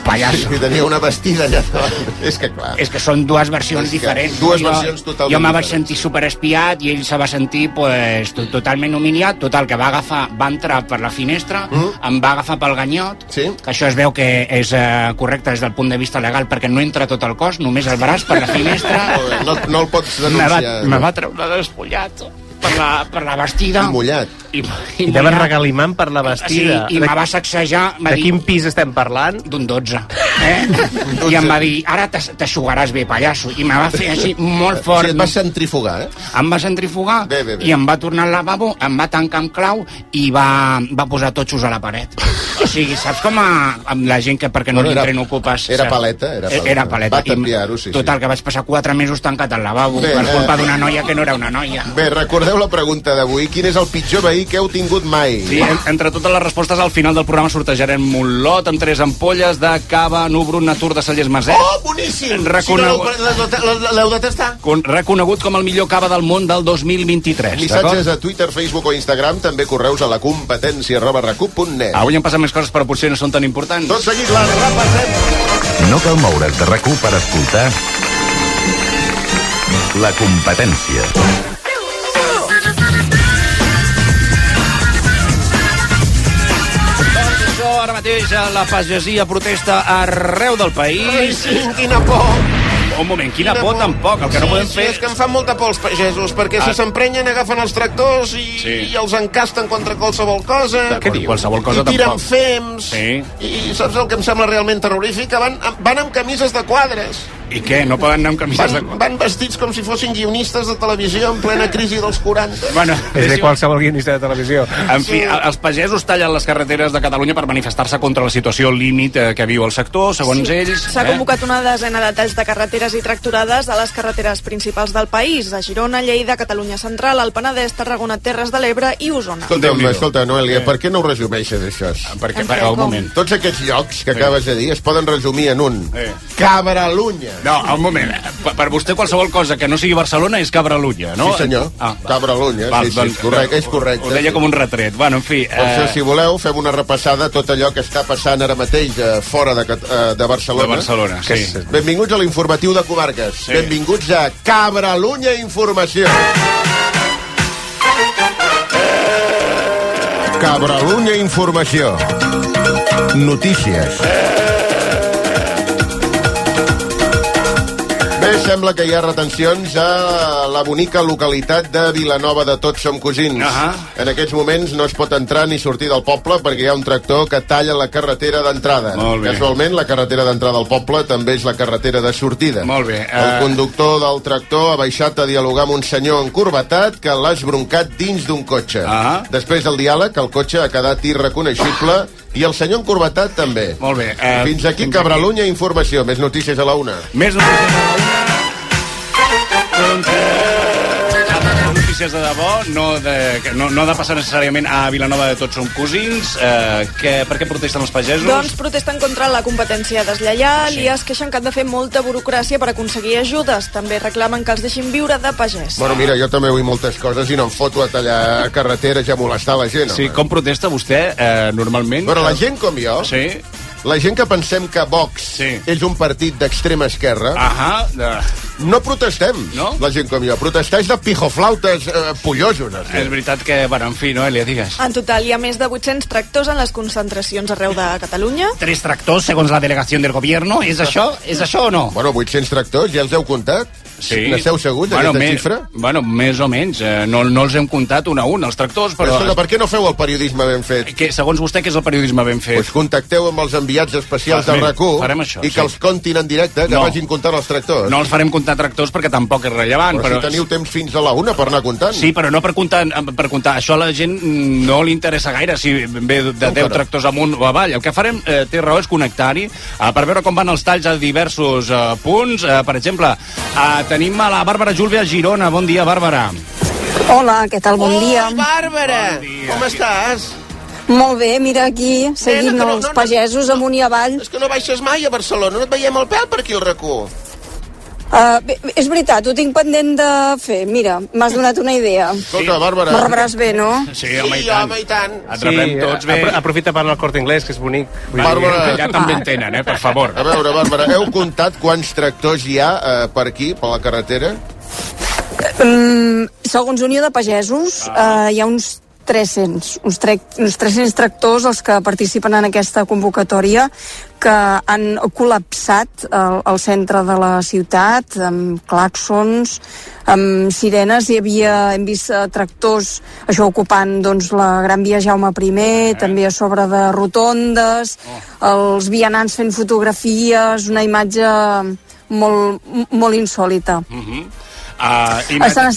[SPEAKER 12] Pallasso.
[SPEAKER 3] I tenia una vestida allà davant. És que clar.
[SPEAKER 12] És que són dues versions
[SPEAKER 3] És que
[SPEAKER 12] diferents.
[SPEAKER 3] dues
[SPEAKER 12] Jo-
[SPEAKER 3] versions totalment
[SPEAKER 12] Jo me vaig sentir superespiat i ell se va sentir pues, to- totalment humiliat. Total, que va agafar, va entrar per la finestra, em va agafar pel ganyot,
[SPEAKER 3] Mm. sí?
[SPEAKER 12] que això es veu que és eh, correcte des del punt de vista legal perquè no entra tot el cos, només el braç per la finestra.
[SPEAKER 3] No, no el pots
[SPEAKER 12] me va,
[SPEAKER 3] denunciar.
[SPEAKER 12] me va treure despullat per la, per la vestida.
[SPEAKER 3] I mullat.
[SPEAKER 12] I,
[SPEAKER 6] I
[SPEAKER 12] i
[SPEAKER 6] anaven
[SPEAKER 12] mullat. Ah,
[SPEAKER 6] regalimant per
[SPEAKER 5] Ah,
[SPEAKER 6] la vestida.
[SPEAKER 12] Sí, i me va sacsejar...
[SPEAKER 6] De quin
[SPEAKER 12] pis estem parlant? D'un 12. Eh? I em va dir, ara t'as- t'aixugaràs bé, pallasso. I me va fer així molt fort.
[SPEAKER 3] Sí, et vas centrifugar, eh?
[SPEAKER 12] Em va centrifugar bé, bé, bé. i em va tornar al lavabo, em va tancar amb clau i va, va posar totxos a la paret. O sigui, saps com a, amb la gent que perquè no,
[SPEAKER 3] Bueno,
[SPEAKER 12] li
[SPEAKER 3] era-
[SPEAKER 12] entren ocupes...
[SPEAKER 3] era
[SPEAKER 12] saps? Eh,
[SPEAKER 3] paleta, era paleta.
[SPEAKER 12] Era paleta.
[SPEAKER 3] Va
[SPEAKER 12] I em-
[SPEAKER 3] canviar-ho, sí, sí.
[SPEAKER 12] Total, que vaig passar quatre mesos tancat al lavabo
[SPEAKER 3] Bé,
[SPEAKER 12] bé, per
[SPEAKER 3] eh.
[SPEAKER 12] culpa d'una noia que no era una noia.
[SPEAKER 3] Bé, Eh, recordeu la pregunta d'avui. Quin és el pitjor veí que heu tingut mai?
[SPEAKER 5] Sí, en- entre totes les respostes, al final del programa sortejarem un lot amb tres ampolles de cava Nubrun Natur de Cellers Maset.
[SPEAKER 3] Oh, boníssim! Si
[SPEAKER 5] Reconegut.
[SPEAKER 3] no, l'heu- l'heu- l'heu- l'heu de tastar.
[SPEAKER 5] Con, reconegut com el millor cava del món del 2023.
[SPEAKER 3] Missatges
[SPEAKER 5] d'acord?
[SPEAKER 3] a Twitter, Facebook o Instagram, també correus a la competència arroba recup.net.
[SPEAKER 5] Avui han passat més coses, però potser no són tan importants.
[SPEAKER 3] Tot seguit la repassem.
[SPEAKER 2] No cal moure's de rac per escoltar la competència.
[SPEAKER 4] Doncs
[SPEAKER 5] Això ara mateix a la pagesia protesta arreu del país.
[SPEAKER 14] Ai, sí, quina por.
[SPEAKER 5] Un moment, quina, por, tampoc. El que no
[SPEAKER 14] Sí,
[SPEAKER 5] podem
[SPEAKER 14] sí,
[SPEAKER 5] fer...
[SPEAKER 14] és que em fan molta por els pagesos, perquè
[SPEAKER 5] Ah.
[SPEAKER 14] si s'emprenyen agafen els tractors i,
[SPEAKER 5] Sí.
[SPEAKER 14] i els encasten contra qualsevol cosa.
[SPEAKER 5] D'acord, Què diu? qualsevol cosa
[SPEAKER 14] I tiren
[SPEAKER 5] tampoc.
[SPEAKER 14] fems.
[SPEAKER 5] Sí.
[SPEAKER 14] I saps el que em sembla realment terrorífic? Que van, van amb camises de quadres.
[SPEAKER 5] I què? No poden anar amb camises de...
[SPEAKER 14] Van vestits com si fossin guionistes de televisió en plena crisi dels 40.
[SPEAKER 5] Bueno,
[SPEAKER 6] És de qualsevol guionista de televisió.
[SPEAKER 5] En fi, a- els pagesos tallen les carreteres de Catalunya per manifestar-se contra la situació límit eh, que viu el sector, segons ells. eh?
[SPEAKER 15] S'ha convocat una desena de talls de carreteres i tracturades a les carreteres principals del país, a Girona, Lleida, Catalunya Central, el Penedès, Tarragona, Terres de l'Ebre i Osona.
[SPEAKER 3] Escolta'm, escolta, Noelia, per què no ho resumeixes, això?
[SPEAKER 5] Perquè, per, un moment.
[SPEAKER 3] Tots aquests llocs que acabes de dir es poden resumir en un. Cabralunya.
[SPEAKER 5] No, un moment. Per, per vostè qualsevol cosa que no sigui Barcelona és Cabralunya, no?
[SPEAKER 3] Sí, senyor.
[SPEAKER 5] Ah, doncs,
[SPEAKER 3] Cabralunya, sí, sí, és correcte, és correcte.
[SPEAKER 5] eh, Ho deia com un retret. Bueno, en fi... eh,
[SPEAKER 3] Per això, si voleu, fem una repassada a tot allò que està passant ara mateix eh, fora de, Cat- eh, de Barcelona.
[SPEAKER 5] De Barcelona,
[SPEAKER 3] Que
[SPEAKER 5] sí.
[SPEAKER 3] és- Benvinguts a l'informatiu de comarques. Sí. Benvinguts a Cabralunya Informació. Cabralunya Informació. Notícies. Bé, També sembla que hi ha retencions a la bonica localitat de Vilanova de Tots Som Cosins.
[SPEAKER 5] Ahà.
[SPEAKER 3] En aquests moments no es pot entrar ni sortir del poble perquè hi ha un tractor que talla la carretera d'entrada.
[SPEAKER 5] Molt bé.
[SPEAKER 3] Casualment, la carretera d'entrada al poble també és la carretera de sortida.
[SPEAKER 5] Molt bé.
[SPEAKER 3] El
[SPEAKER 5] eh,
[SPEAKER 3] conductor del tractor ha baixat a dialogar amb un senyor encorbatat que l'ha esbroncat dins d'un cotxe. Ah. Després del diàleg, el cotxe ha quedat irreconeixible i el senyor encorbatat també.
[SPEAKER 5] Molt bé.
[SPEAKER 3] Eh, fins aquí, fins Cabralunya, informació. Més notícies a la una.
[SPEAKER 5] Més notícies a la una. Notícies de debò, no, de, que no, no ha de passar necessàriament a Vilanova de Tots Som Cosins. Eh, que, per què protesten els pagesos?
[SPEAKER 15] Doncs protesten contra la competència
[SPEAKER 5] Ah,
[SPEAKER 15] deslleial sí. i es queixen que han de fer molta burocràcia per aconseguir ajudes. També reclamen que els deixin viure de pagès.
[SPEAKER 3] Bueno, mira, jo també vull moltes coses i no em foto a tallar carreteres i a molestar la gent.
[SPEAKER 5] Sí,
[SPEAKER 3] home.
[SPEAKER 5] com protesta vostè eh, normalment?
[SPEAKER 3] Però la gent com jo...
[SPEAKER 5] Sí.
[SPEAKER 3] La gent que pensem que Vox sí. és un partit d'extrema esquerra...
[SPEAKER 5] Ahà, de...
[SPEAKER 3] No protestem, no? la gent com jo. Protestar és de pijoflautes eh, pollosos. Es
[SPEAKER 5] És veritat que, bueno, en fi, no, Elia, digues.
[SPEAKER 15] En total, hi ha més de 800 tractors en les concentracions arreu de Catalunya.
[SPEAKER 4] Tres tractors, segons la delegació del govern, és això? És això o no?
[SPEAKER 3] Bueno, 800 tractors, ja els heu comptat?
[SPEAKER 5] Sí.
[SPEAKER 3] N'esteu segurs,
[SPEAKER 5] Bueno,
[SPEAKER 3] d'aquesta
[SPEAKER 5] més-
[SPEAKER 3] xifra?
[SPEAKER 5] Bueno, més o menys. Eh, no, no els hem comptat un a un, els tractors,
[SPEAKER 3] Però,
[SPEAKER 5] però... Eh,
[SPEAKER 3] Escolta, per què no feu el periodisme ben fet?
[SPEAKER 5] Que, segons vostè, què és el periodisme ben fet?
[SPEAKER 3] Pues contacteu amb els enviats especials
[SPEAKER 5] Ah,
[SPEAKER 3] de
[SPEAKER 5] mira,
[SPEAKER 3] RAC1
[SPEAKER 5] farem això,
[SPEAKER 3] i que
[SPEAKER 5] sí.
[SPEAKER 3] els contin en directe, que
[SPEAKER 5] No.
[SPEAKER 3] vagin comptant els tractors.
[SPEAKER 5] No els farem comptar tractors perquè tampoc és rellevant.
[SPEAKER 3] Però si teniu temps fins a la una per anar comptant.
[SPEAKER 5] Sí, però no per comptar, per comptar. Això a la gent mm, no li interessa gaire si ve de 10
[SPEAKER 3] caram.
[SPEAKER 5] tractors amunt o avall. El que farem, eh, té raó, és connectar-hi eh, per veure com van els talls a diversos eh, punts. Eh, per exemple, eh, tenim a la Bàrbara Júlvia a Girona. Bon dia, Bàrbara.
[SPEAKER 13] Hola, què tal? Bon dia.
[SPEAKER 14] Oh, Bàrbara! Com estàs?
[SPEAKER 13] Molt bé, mira aquí, seguint
[SPEAKER 14] Nena, que no,
[SPEAKER 13] els
[SPEAKER 14] no, no.
[SPEAKER 13] pagesos amunt i avall.
[SPEAKER 14] És que no baixes mai a Barcelona, no et veiem el pèl per aquí al racó.
[SPEAKER 13] Uh, bé, és veritat, ho tinc pendent de fer. Mira, m'has donat una idea.
[SPEAKER 3] Escolta, Bàrbara...
[SPEAKER 13] Me rebràs bé, no?
[SPEAKER 5] Sí,
[SPEAKER 14] home, i tant. home, i tant.
[SPEAKER 6] Et rebrem sí, tots bé. Aprofita per anar al cort anglès, que és bonic. Vull dir,
[SPEAKER 3] Bàrbara-
[SPEAKER 5] Allà també en tenen, eh, per favor.
[SPEAKER 3] A veure, Bàrbara, heu comptat quants tractors hi ha eh, per aquí, per la carretera?
[SPEAKER 13] Mm, segons Unió de Pagesos, uh, hi ha uns 300, uns, trec, uns 300 tractors els que participen en aquesta convocatòria que han col·lapsat el, el centre de la ciutat amb claxons, amb sirenes, hi havia, hem vist eh, tractors, això ocupant doncs, la Gran Via Jaume I, també a sobre de rotondes, els vianants fent fotografies, una imatge molt, molt insòlita.
[SPEAKER 5] Uh -huh. uh, i...
[SPEAKER 13] Estan,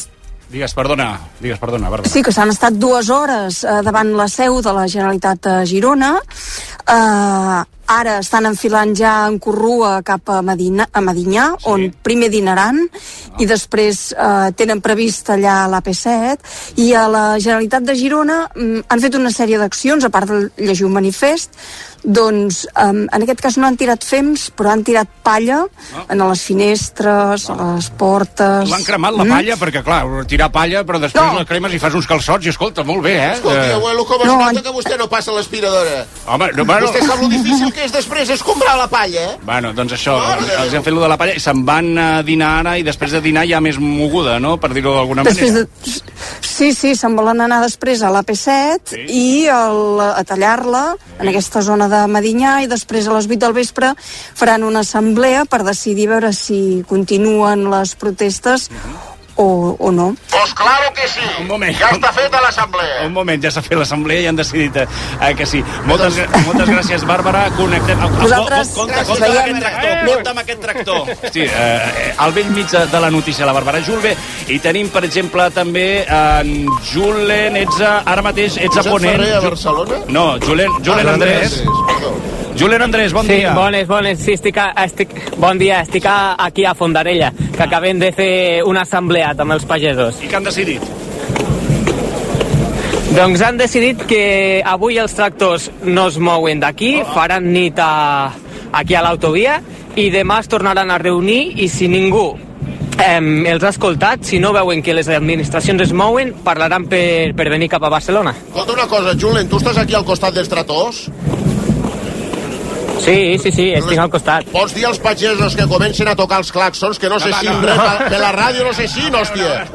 [SPEAKER 5] Digues, perdona, digues, perdona, Bàrbara.
[SPEAKER 13] Sí, que s'han estat dues hores eh, davant la seu de la Generalitat a Girona. Eh, ara estan enfilant ja en corrua cap a, Medina, a Medinyà, sí. on primer dinaran i després eh, tenen previst allà a l'AP7. I a la Generalitat de Girona mm, han fet una sèrie d'accions, a part de llegir un manifest, doncs eh, en aquest cas no han tirat fems, però han tirat palla en les finestres, a les portes...
[SPEAKER 5] Ah. L'han cremat la
[SPEAKER 13] Mm.
[SPEAKER 5] palla, perquè clar, tirar palla, però després no. la cremes i fas uns calçots i escolta, molt bé, eh?
[SPEAKER 14] Escolti,
[SPEAKER 5] Eh,
[SPEAKER 14] abuelo, com es
[SPEAKER 13] No,
[SPEAKER 14] no, nota
[SPEAKER 13] en-
[SPEAKER 14] que vostè no passa l'aspiradora?
[SPEAKER 5] Home, no,
[SPEAKER 14] Bueno.
[SPEAKER 5] bueno,
[SPEAKER 14] Vostè sap lo difícil que és després escombrar la palla, eh?
[SPEAKER 5] bueno, doncs això, els han fet lo de la palla i se'n van a dinar ara i després de dinar hi ha més moguda, no?, per dir-ho d'alguna
[SPEAKER 13] Després
[SPEAKER 5] manera.
[SPEAKER 13] de... Sí, sí, se'n volen anar després a l'AP7 sí. i el, a tallar-la en aquesta zona de Medinyà i després a les 8 del vespre faran una assemblea per decidir a veure si continuen les protestes o, o no.
[SPEAKER 14] Pues claro que sí. Un
[SPEAKER 5] moment.
[SPEAKER 14] Ja està feta l'assemblea.
[SPEAKER 5] Un moment, ja s'ha fet l'assemblea i han decidit eh, eh, que sí. Moltes, gra- moltes gràcies, Bàrbara. Connectem... Ah,
[SPEAKER 13] Vosaltres...
[SPEAKER 5] compte,
[SPEAKER 13] ens
[SPEAKER 5] compte amb
[SPEAKER 13] veiem.
[SPEAKER 5] aquest tractor, compte amb aquest tractor. Sí, eh, eh, al vell mig de la notícia, la Bàrbara Julve. I tenim, per exemple, també en Julen, ets a, ara mateix ets a
[SPEAKER 3] Josep
[SPEAKER 5] Ponent.
[SPEAKER 3] Ferrer, a
[SPEAKER 5] Ju-
[SPEAKER 3] Barcelona?
[SPEAKER 5] No, Julen, Julen
[SPEAKER 3] Ah,
[SPEAKER 5] Andrés. Julen Andrés, bon
[SPEAKER 16] sí,
[SPEAKER 5] dia.
[SPEAKER 16] Bones, bones. Sí, estic, a, estic, bon dia, estic a, aquí a Fondarella, que acabem de fer una assemblea amb els pagesos.
[SPEAKER 5] Ah. I què han decidit?
[SPEAKER 16] Doncs han decidit que avui els tractors no es mouen d'aquí,
[SPEAKER 5] Ah.
[SPEAKER 16] faran nit a, aquí a l'autovia i demà es tornaran a reunir i si ningú em, els ha escoltat, si no veuen que les administracions es mouen, parlaran per, per venir cap a Barcelona.
[SPEAKER 3] Escolta una cosa, Julen, tu estàs aquí al costat dels tractors?
[SPEAKER 16] Sí, Sí, sí, sí, estic al costat.
[SPEAKER 3] Pots dir als pagesos que comencen a tocar els claxons, que no sé si...
[SPEAKER 16] no,
[SPEAKER 3] repa-
[SPEAKER 16] no.
[SPEAKER 3] Que la ràdio no sé si, hòstia.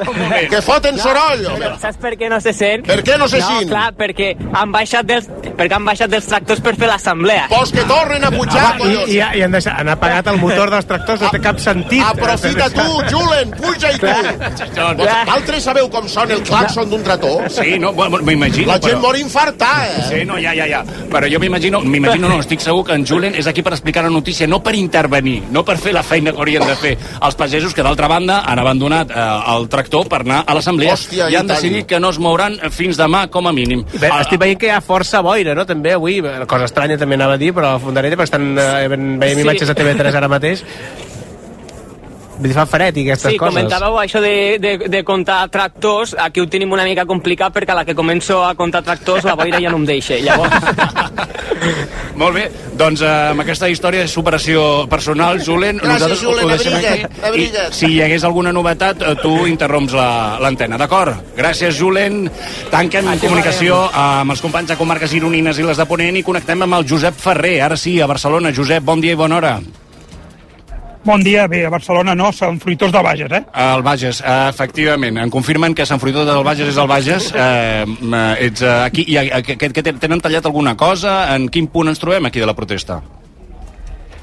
[SPEAKER 3] Que foten soroll, home.
[SPEAKER 16] Saps per què no se sent?
[SPEAKER 3] Per què no se
[SPEAKER 16] no,
[SPEAKER 3] sent?
[SPEAKER 16] clar, perquè han baixat dels, perquè han baixat dels tractors per fer l'assemblea.
[SPEAKER 3] Pues que tornen a pujar,
[SPEAKER 6] I, Ah, i, i han, deixat, han apagat el motor dels tractors, no té cap sentit.
[SPEAKER 5] eh,
[SPEAKER 3] Aprofita tu, Julen, puja-hi tu. Altres sabeu com sona el claxon d'un tractor?
[SPEAKER 5] Doncs, Sí, no, bueno, m'imagino,
[SPEAKER 3] La gent
[SPEAKER 5] però-
[SPEAKER 3] mor infartada, eh?
[SPEAKER 5] Sí, no, ja, ja, ja. Però jo m'imagino, m'imagino, no, estic segur que en Julen és aquí per explicar la notícia, no per intervenir, no per fer la feina que haurien de fer els pagesos que, d'altra banda, han abandonat eh, el tractor per anar a l'assemblea
[SPEAKER 6] Hòstia,
[SPEAKER 5] i
[SPEAKER 6] i
[SPEAKER 5] han
[SPEAKER 6] tant.
[SPEAKER 5] decidit que no es mouran fins demà, com a mínim. Ah,
[SPEAKER 6] Bé, estic veient que hi ha força boira, no? També avui, Bé, cosa estranya també anava a dir, però a Fondarella, perquè estan, eh, veiem
[SPEAKER 16] Sí.
[SPEAKER 6] imatges a TV3 ara mateix. Vull dir, fa fred i aquestes
[SPEAKER 16] Sí,
[SPEAKER 6] coses.
[SPEAKER 16] comentàveu això de, de, de comptar tractors, aquí ho tenim una mica complicat perquè a la que començo a comptar tractors la boira ja no em deixa, llavors...
[SPEAKER 5] Molt bé, doncs eh, amb aquesta història de superació personal, Julen,
[SPEAKER 16] Gràcies,
[SPEAKER 5] nosaltres ho-
[SPEAKER 16] Julen,
[SPEAKER 5] ho deixem
[SPEAKER 16] abriga't,
[SPEAKER 5] aquí.
[SPEAKER 16] abriga't.
[SPEAKER 5] I, si hi hagués alguna novetat, eh, tu interromps la- l'antena, d'acord? Gràcies, Julen. Tanquem comunicació amb els companys de comarques gironines i les de Ponent i connectem amb el Josep Ferrer, ara sí, a Barcelona. Josep, bon dia i bona hora.
[SPEAKER 17] Bon dia, bé, a Barcelona no, són fruitós de Bages, eh?
[SPEAKER 5] El Bages, eh, efectivament. Em confirmen que Sant Fruitós del Bages és el Bages. Eh, eh, ets eh, aquí. I, eh, que, que tenen tallat alguna cosa? En quin punt ens trobem aquí de la protesta?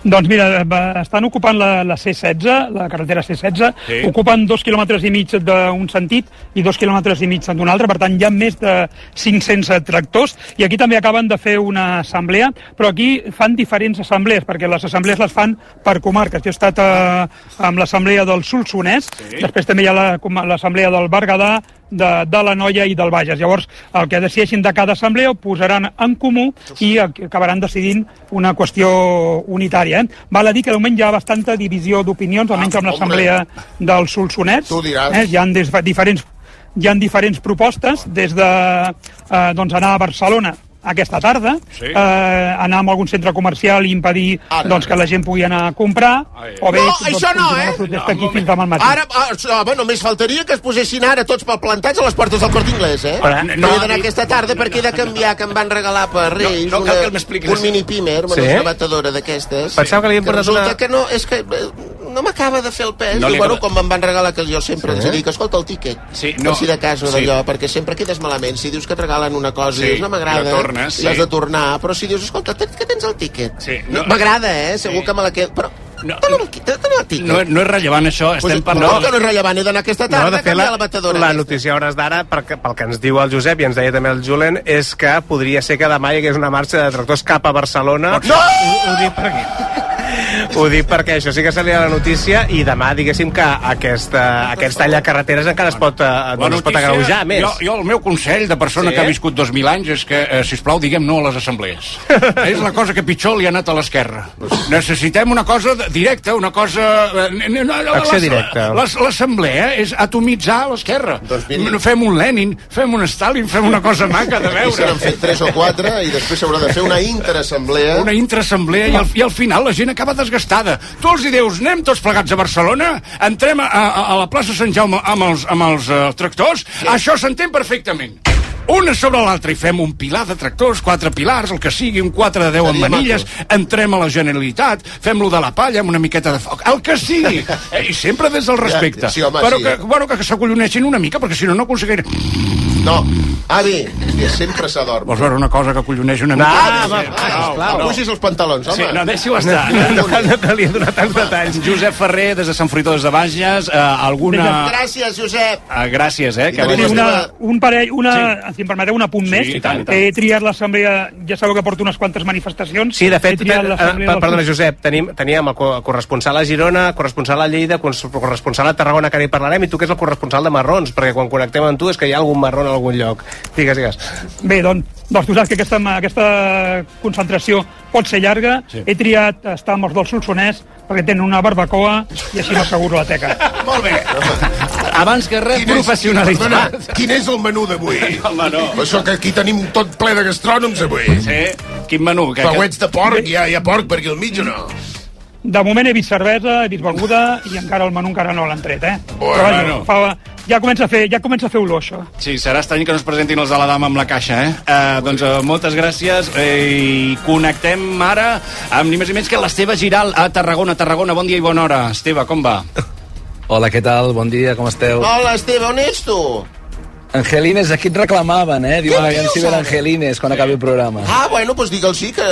[SPEAKER 17] Doncs mira, va- estan ocupant la, la C-16, la carretera C-16, sí.
[SPEAKER 5] Sí.
[SPEAKER 17] ocupen dos quilòmetres i mig d'un sentit i dos quilòmetres i mig d'un altre, per tant hi ha més de 500 tractors i aquí també acaben de fer una assemblea, però aquí fan diferents assemblees, perquè les assemblees les fan per comarques. Jo he estat eh, amb l'assemblea del Solsonès, sí. després també hi ha la- com- l'assemblea del Berguedà, de, de la Noia i del Bages. Llavors, el que decideixin de cada assemblea ho posaran en comú i ac- acabaran decidint una qüestió unitària. Eh? Val a dir que de moment hi ha bastanta divisió d'opinions,
[SPEAKER 3] Ah,
[SPEAKER 17] almenys amb l'assemblea del Solsonès. Eh? Hi ha des, diferents hi ha diferents propostes, des de eh, doncs anar a Barcelona aquesta tarda,
[SPEAKER 18] Sí.
[SPEAKER 17] eh, anar a algun centre comercial i impedir doncs, que la gent pugui anar a comprar, o bé
[SPEAKER 3] No,
[SPEAKER 17] doncs,
[SPEAKER 3] això no,
[SPEAKER 17] continuar
[SPEAKER 3] eh?
[SPEAKER 17] la protesta aquí fins demà al matí.
[SPEAKER 3] Ara, ah, home, només faltaria que es posessin ara tots pel plantats a les portes del Corte Inglés, eh?
[SPEAKER 6] Però,
[SPEAKER 3] no,
[SPEAKER 6] no,
[SPEAKER 3] he d'anar aquesta tarda perquè he de canviar, que em van regalar per Reis
[SPEAKER 6] no cal que
[SPEAKER 3] una, un mini pimer,
[SPEAKER 6] Sí?
[SPEAKER 3] una batedora d'aquestes.
[SPEAKER 6] Pensava que li havien portat
[SPEAKER 3] resulta
[SPEAKER 6] una-
[SPEAKER 3] que no, és que eh, no m'acaba de fer el pes.
[SPEAKER 5] No
[SPEAKER 3] No
[SPEAKER 5] li
[SPEAKER 3] bueno,
[SPEAKER 5] acaba-
[SPEAKER 3] com em van regalar que jo sempre
[SPEAKER 5] Sí?
[SPEAKER 3] sí? els dic, escolta el tíquet,
[SPEAKER 5] Sí,
[SPEAKER 3] no.
[SPEAKER 5] no.
[SPEAKER 3] per si de cas o
[SPEAKER 5] Sí.
[SPEAKER 3] d'allò, perquè sempre quedes malament. Si dius que et regalen una cosa
[SPEAKER 5] Sí,
[SPEAKER 3] i dius no
[SPEAKER 5] la
[SPEAKER 3] m'agrada,
[SPEAKER 5] tornes,
[SPEAKER 3] i has
[SPEAKER 5] sí.
[SPEAKER 3] de tornar, però si dius, escolta, tens- que tens el tíquet.
[SPEAKER 5] Sí,
[SPEAKER 3] no. M'agrada, eh? Segur que me la quedo, però
[SPEAKER 5] no,
[SPEAKER 3] No,
[SPEAKER 5] no és rellevant això, estem parlant...
[SPEAKER 3] No, que no és rellevant, he d'anar aquesta tarda
[SPEAKER 6] de
[SPEAKER 3] a
[SPEAKER 6] fet,
[SPEAKER 3] canviar la, batedora.
[SPEAKER 6] La notícia a hores d'ara, pel, que- pel que ens diu el Josep i ens deia també el Julen, és que podria ser que demà hi hagués una marxa de tractors cap a Barcelona. No! Ho, ho dic perquè... Ho dic perquè això sí que seria la notícia i demà diguéssim que aquesta, aquest tall de carreteres encara es pot, eh,
[SPEAKER 5] Doncs La
[SPEAKER 6] doncs es pot
[SPEAKER 5] notícia,
[SPEAKER 6] agreujar més.
[SPEAKER 5] Jo, jo, el meu consell de
[SPEAKER 6] Sí?
[SPEAKER 5] persona sí? que ha viscut 2.000 anys és que, eh, si plau diguem no a les assemblees. és la cosa que pitjor li ha anat a l'esquerra. Necessitem una cosa de- directa, una cosa... eh, n- n- no,
[SPEAKER 6] Acció
[SPEAKER 5] les-
[SPEAKER 6] directa.
[SPEAKER 5] les- L'assemblea és atomitzar l'esquerra.
[SPEAKER 3] mira.
[SPEAKER 5] Fem un Lenin, fem un Stalin, fem una cosa maca de
[SPEAKER 3] I se n'han
[SPEAKER 5] veure.
[SPEAKER 3] fet tres o quatre i després s'haurà de fer una interassemblea.
[SPEAKER 5] Una intraassemblea i, al, i al final la gent acaba desgastada. Tu els hi dius, anem tots plegats a Barcelona, entrem a, a, a la plaça Sant Jaume amb els, amb els uh, tractors, sí. això s'entén perfectament. Una sobre l'altra i fem un pilar de tractors, quatre pilars, el que sigui, un 4 de 10 amb
[SPEAKER 3] Seria
[SPEAKER 5] manilles, entrem a la Generalitat, fem-lo de la palla amb una miqueta de foc, el que sigui, Eh, i sempre des del respecte.
[SPEAKER 3] sí, home,
[SPEAKER 5] Però
[SPEAKER 3] sí.
[SPEAKER 5] que, bueno, que s'acolloneixin una mica, perquè si no, no aconseguirem...
[SPEAKER 3] No, avi, hòstia, sempre s'adorm.
[SPEAKER 5] Vols veure una cosa que acolloneix una mica?
[SPEAKER 3] Ah,
[SPEAKER 5] Sí,
[SPEAKER 3] va,
[SPEAKER 5] sí, sisplau.
[SPEAKER 3] va, Apugis els pantalons, home.
[SPEAKER 5] Sí, no, deixi-ho estar. No, no, no calia donar tants detalls. Josep Ferrer, des de Sant Fruitós de Bages, eh, alguna...
[SPEAKER 3] Gràcies, Josep.
[SPEAKER 5] Eh, gràcies, eh? Que
[SPEAKER 17] Una,
[SPEAKER 5] vagi-
[SPEAKER 17] una, un parell, una, sí. si em permeteu, un apunt més.
[SPEAKER 6] i tant, i tant.
[SPEAKER 17] He triat l'assemblea, ja sabeu que porto unes quantes manifestacions.
[SPEAKER 6] Sí, de fet,
[SPEAKER 17] He
[SPEAKER 6] per,
[SPEAKER 17] triat
[SPEAKER 6] eh,
[SPEAKER 17] l'assemblea
[SPEAKER 6] per-
[SPEAKER 17] del-
[SPEAKER 6] perdona, Josep, tenim, teníem el co- corresponsal a Girona, corresponsal a Lleida, cons- corresponsal a Tarragona, que ara hi parlarem, i tu que ets el corresponsal de marrons, perquè quan connectem amb tu és que hi ha algun marrón a algun lloc. Digues, digues.
[SPEAKER 17] Bé, doncs, doncs tu saps que aquesta, aquesta concentració pot ser llarga.
[SPEAKER 6] Sí.
[SPEAKER 17] Sí. He triat estar amb els del Solsonès perquè tenen una barbacoa i així m'asseguro la teca.
[SPEAKER 5] Molt bé. Abans que res, professionalitat.
[SPEAKER 19] Quin és, quin és el menú d'avui?
[SPEAKER 5] Home, no.
[SPEAKER 19] Això que aquí tenim tot ple de gastrònoms avui.
[SPEAKER 5] Sí? Quin menú? Que-
[SPEAKER 19] Pauets de porc, hi ha, hi ha porc per aquí al mig o no?
[SPEAKER 17] De moment he vist cervesa, he vist beguda i encara el menú encara no l'han tret, eh?
[SPEAKER 19] Bueno,
[SPEAKER 17] Però vaja,
[SPEAKER 19] bueno.
[SPEAKER 17] fa, ja comença a fer, ja comença a fer olor, això.
[SPEAKER 5] Sí, serà estrany que no es presentin els de la dama amb la caixa, eh? eh doncs eh, moltes gràcies eh, i connectem ara amb ni més ni menys que l'Esteve Giral a Tarragona. Tarragona, bon dia i bona hora. Esteve, com va?
[SPEAKER 20] Hola, què tal? Bon dia, com esteu?
[SPEAKER 3] Hola, Esteve, on ets tu?
[SPEAKER 20] Angelines, aquí et reclamaven, eh? Diuen,
[SPEAKER 3] Què
[SPEAKER 20] aviam si
[SPEAKER 3] dius,
[SPEAKER 20] ven
[SPEAKER 3] ara?"
[SPEAKER 20] Angelines quan acabi el programa.
[SPEAKER 3] Ah, bueno, doncs digue'ls sí que,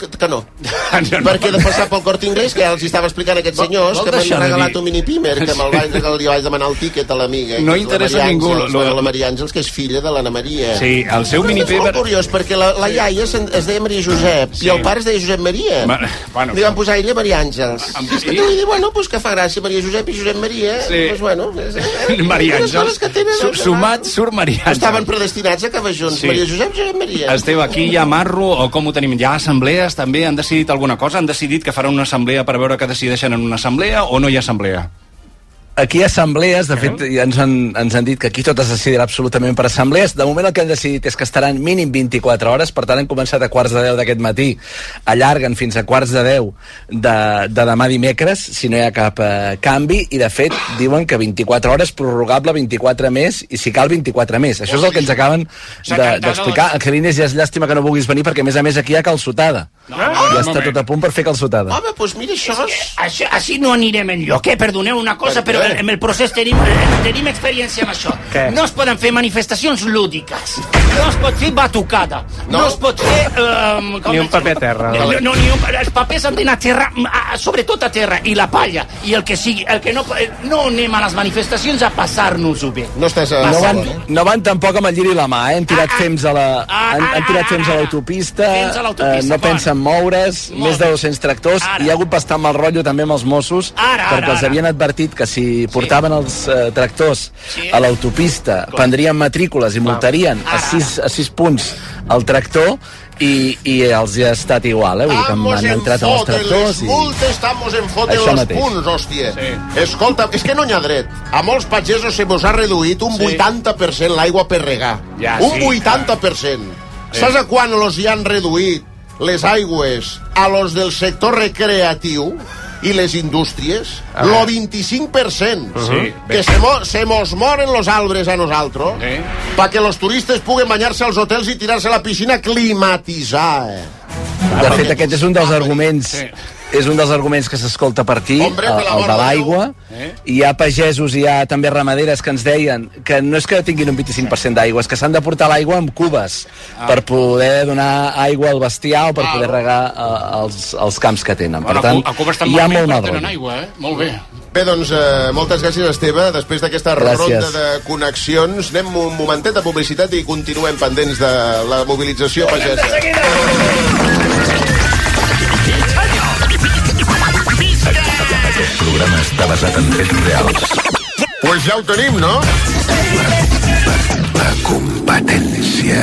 [SPEAKER 3] que, que no. no. Perquè he de passar pel Corte Inglés, que ja els hi estava explicant a aquests senyors,
[SPEAKER 5] Ah, vol
[SPEAKER 3] que m'han
[SPEAKER 5] deixar de
[SPEAKER 3] regalat
[SPEAKER 5] dir-
[SPEAKER 3] un mini-pimer, que me'l vaig, que li vaig demanar el tiquet a l'amiga. eh,
[SPEAKER 5] No
[SPEAKER 3] que és la
[SPEAKER 5] interessa
[SPEAKER 3] Maria
[SPEAKER 5] a ningú,
[SPEAKER 3] Àngels,
[SPEAKER 5] lo-
[SPEAKER 3] bueno, La Maria Àngels, que és filla de l'Anna Maria.
[SPEAKER 5] Sí, el seu
[SPEAKER 3] Però És
[SPEAKER 5] mini-pimer-
[SPEAKER 3] molt curiós, perquè la, la iaia se'n- es deia Maria Josep,
[SPEAKER 5] Sí.
[SPEAKER 3] i el pare es deia Josep Maria.
[SPEAKER 5] Ma- bueno, Ah,
[SPEAKER 3] li van posar a ella Maria Àngels.
[SPEAKER 5] sí?
[SPEAKER 3] I li diu, bueno, doncs que fa gràcia Maria Josep i Josep Maria.
[SPEAKER 5] Sí.
[SPEAKER 3] Doncs bueno, és,
[SPEAKER 5] Maria
[SPEAKER 3] Unes coses
[SPEAKER 5] Àngels.
[SPEAKER 3] que tenen-
[SPEAKER 5] Su- Sumat surt Maria Àngels.
[SPEAKER 3] Estaven predestinats a acabar junts.
[SPEAKER 5] Sí.
[SPEAKER 3] Sí. Maria Josep, Josep Maria.
[SPEAKER 5] Esteve, aquí hi ha marro, o com ho tenim? Hi ha assemblees, també? Han decidit alguna cosa? Han decidit que faran una assemblea per veure què decideixen en una assemblea o no hi ha assemblea?
[SPEAKER 20] Aquí hi ha assemblees, de fet, ja ens han, ens han dit que aquí tot es decidirà absolutament per assemblees. De moment el que han decidit és que estaran mínim 24 hores, per tant han començat a quarts de 10 d'aquest matí, allarguen fins a quarts de 10 de, de demà dimecres, si no hi ha cap eh, canvi, i de fet diuen que 24 hores, prorrogable 24 més, i si cal 24 més. Això és el que ens acaben de- d'explicar. De, Angelines, ja és llàstima que no vulguis venir, perquè a més a més aquí hi ha calçotada. No, ja està tot a punt per fer calçotada.
[SPEAKER 3] Home, doncs mira, això...
[SPEAKER 4] És que això així no anirem enlloc, eh? Perdoneu una cosa, però en el procés tenim, eh, tenim experiència amb això.
[SPEAKER 3] Què?
[SPEAKER 4] No es poden fer manifestacions lúdiques, no es pot fer batucada, no, no es pot fer... Eh, com
[SPEAKER 6] Ni un
[SPEAKER 4] es-
[SPEAKER 6] paper a terra.
[SPEAKER 4] No, no, ni un, els papers han d'anar a terra, a- a- sobretot a terra, i la palla, i el que sigui. El que no, eh, no anem a les manifestacions a passar-nos-ho bé.
[SPEAKER 3] No estàs a... eh?
[SPEAKER 20] No van,
[SPEAKER 4] Passar-ho bé.
[SPEAKER 20] no van tampoc amb el lliri i la mà, eh? han
[SPEAKER 4] Ah,
[SPEAKER 20] tirat fems a la, han, han tirat fems a l'autopista,
[SPEAKER 4] Fems a l'autopista,
[SPEAKER 20] eh, no
[SPEAKER 4] bon.
[SPEAKER 20] pensen moure's, més de 200 tractors, i hi ha hagut bastant mal rotllo també amb els Mossos,
[SPEAKER 4] Ara, ara,
[SPEAKER 20] perquè els
[SPEAKER 4] ara.
[SPEAKER 20] havien advertit que si portaven els eh, tractors a l'autopista, prendrien matrícules i multarien a 6, a 6 punts el tractor, i, i els hi ha estat igual, eh? Vull dir que han- han entrat amb els
[SPEAKER 3] foten les
[SPEAKER 20] tractors i...
[SPEAKER 3] multes, estamos en foten
[SPEAKER 20] Això
[SPEAKER 3] els
[SPEAKER 20] mateix.
[SPEAKER 3] punts, hòstia. Sí. Escolta, és que no n'hi ha dret. A molts pagesos se vos ha reduït un 80% l'aigua per regar.
[SPEAKER 21] Ja,
[SPEAKER 3] un
[SPEAKER 21] sí,
[SPEAKER 3] 80%. Saps a quan los hi han reduït les aigües a los del sector recreatiu i les indústries?
[SPEAKER 21] A
[SPEAKER 3] Lo
[SPEAKER 21] veure.
[SPEAKER 3] 25%.
[SPEAKER 21] Sí,
[SPEAKER 3] que se, mo se mos moren los albres a nosaltres eh? pa que los turistes puguen banyar-se als hotels i tirar-se a la piscina eh. climatitzada.
[SPEAKER 20] De fet, aquest és un
[SPEAKER 4] Ah,
[SPEAKER 20] dels arguments és un dels arguments que s'escolta per aquí,
[SPEAKER 3] Hombre, per
[SPEAKER 20] el, el
[SPEAKER 3] l'amor
[SPEAKER 20] de
[SPEAKER 3] de
[SPEAKER 20] l'aigua.
[SPEAKER 3] Eh?
[SPEAKER 20] Hi ha pagesos, hi ha també ramaderes que ens deien que no és que tinguin un 25% d'aigua, és que s'han de portar l'aigua amb cubes per poder donar aigua al bestiar o per poder regar eh, els, els camps que tenen. Per tant, hi ha molt mal rotllo.
[SPEAKER 5] aigua, eh? Molt bé.
[SPEAKER 21] Bé, doncs, eh, moltes gràcies, Esteve. Després d'aquesta
[SPEAKER 20] Gràcies.
[SPEAKER 21] ronda de connexions, anem un momentet de publicitat i continuem pendents de la mobilització pagesa.
[SPEAKER 2] Aquest programa està basat en fets reals.
[SPEAKER 21] Pues ja ho tenim, no?
[SPEAKER 2] Competència.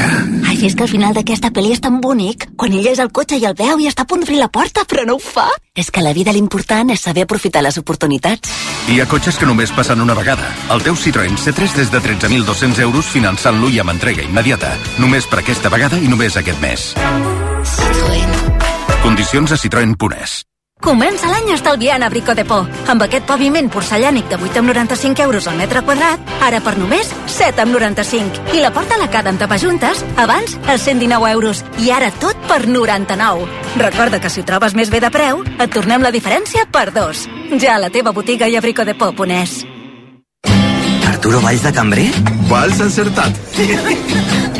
[SPEAKER 22] Ai, és que el final d'aquesta pel·li és tan bonic. Quan ell és al cotxe i el veu i està a punt d'obrir la porta, però no ho fa. És que a la vida l'important és saber aprofitar les oportunitats.
[SPEAKER 2] Hi ha cotxes que només passen una vegada. El teu Citroën C3 des de 13.200 euros finançant-lo i amb entrega immediata. Només per aquesta vegada i només aquest mes. Condicions a Citroën Punès.
[SPEAKER 22] Comença l'any estalviant a Brico de Por. Amb aquest paviment porcellànic de 8,95 euros al metre quadrat, ara per només 7,95. I la porta a la cada amb tapajuntes, abans a 119 euros. I ara tot per 99. Recorda que si ho trobes més bé de preu, et tornem la diferència per dos. Ja a la teva botiga i a Brico de Por, Ponés.
[SPEAKER 23] Arturo Valls de Cambrer? Valls encertat.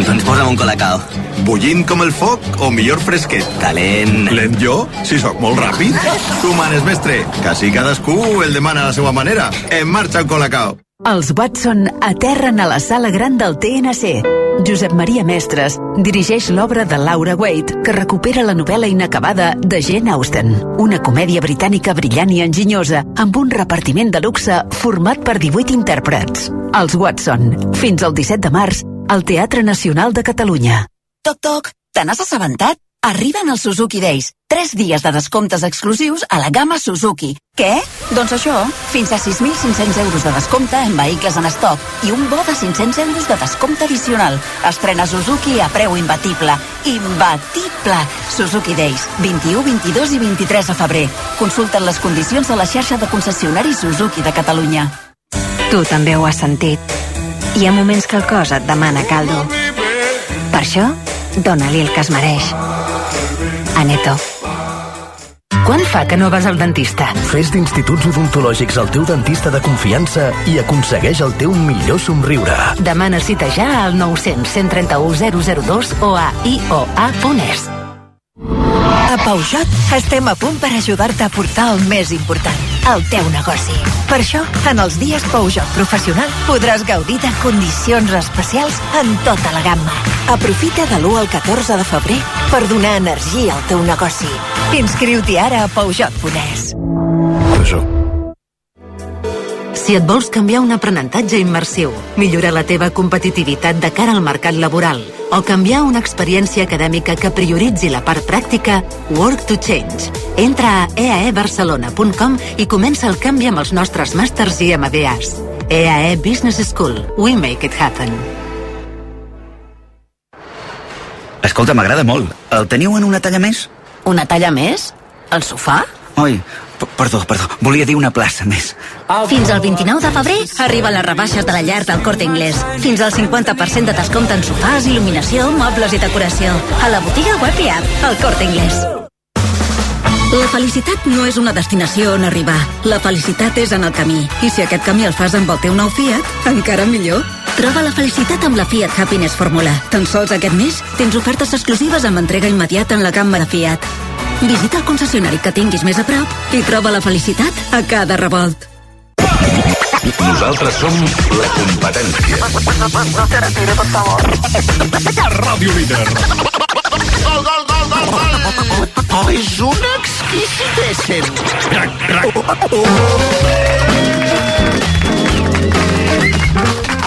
[SPEAKER 23] doncs posa'm un colacao. Bullint com el foc o millor fresquet? Calent. Lent jo? Si sóc molt ràpid. Tu manes, mestre. Quasi cadascú el demana a la seva manera. En marxa el colacao.
[SPEAKER 24] Els Watson aterren a la sala gran del TNC. Josep Maria Mestres dirigeix l'obra de Laura Waite, que recupera la novel·la inacabada de Jane Austen, una comèdia britànica brillant i enginyosa, amb un repartiment de luxe format per 18 intèrprets. Els Watson, fins al 17 de març, al Teatre Nacional de Catalunya.
[SPEAKER 15] Toc, toc, te n'has assabentat? Arriben els Suzuki Days. 3 dies de descomptes exclusius a la gamma Suzuki. Què? Doncs això, fins a 6.500 euros de descompte en vehicles en estoc i un bo de 500 euros de descompte addicional. Estrena Suzuki a preu imbatible. Imbatible! Suzuki Days, 21, 22 i 23 de febrer. Consulten les condicions a la xarxa de concessionaris Suzuki de Catalunya.
[SPEAKER 1] Tu també ho has sentit. Hi ha moments que el cos et demana caldo. Per això, dóna-li el que es mereix. Aneto.
[SPEAKER 24] Quan fa que no vas al dentista? Fes d'Instituts Odontològics el teu dentista de confiança i aconsegueix el teu millor somriure. Demana cita ja al 900 131 002 o a ioa.es.
[SPEAKER 1] A Peugeot estem a punt per ajudar-te a portar el més important, el teu negoci. Per això, en els dies Peugeot Professional podràs gaudir de condicions especials en tota la gamma. Aprofita de l'1 al 14 de febrer per donar energia al teu negoci. Inscriu-t'hi ara a Peugeot.es.
[SPEAKER 24] Si et vols canviar un aprenentatge immersiu, millorar la teva competitivitat de cara al mercat laboral o canviar una experiència acadèmica que prioritzi la part pràctica, Work to Change. Entra a
[SPEAKER 1] E
[SPEAKER 24] eaebarcelona.com i comença el canvi amb els nostres màsters i MBAs. EAE E Business School. We make it happen.
[SPEAKER 23] Escolta, m'agrada molt. El teniu en una talla més?
[SPEAKER 25] Una talla més? El sofà?
[SPEAKER 23] Oi, p- perdó, perdó. Volia dir una plaça més.
[SPEAKER 22] Fins al 29 de febrer arriben les rebaixes de la llar del Corte Inglés. Fins al 50% de descompte en sofàs, il·luminació, mobles i decoració. A la botiga web i app, el Corte Inglés. La felicitat no és una destinació on arribar. La felicitat és en el camí. I si aquest camí el fas amb el teu nou Fiat, encara millor. Troba la felicitat amb la Fiat Happiness Fórmula. Tan sols aquest mes tens ofertes exclusives amb entrega immediata en la gamma de Fiat. Visita el concessionari que tinguis més a prop i troba la felicitat a cada revolt.
[SPEAKER 26] Nosaltres som la competència.
[SPEAKER 2] Ràdio Líder.
[SPEAKER 27] Gol, gol, gol, gol, gol! Oh, és un exquisit ésser. Crac, crac.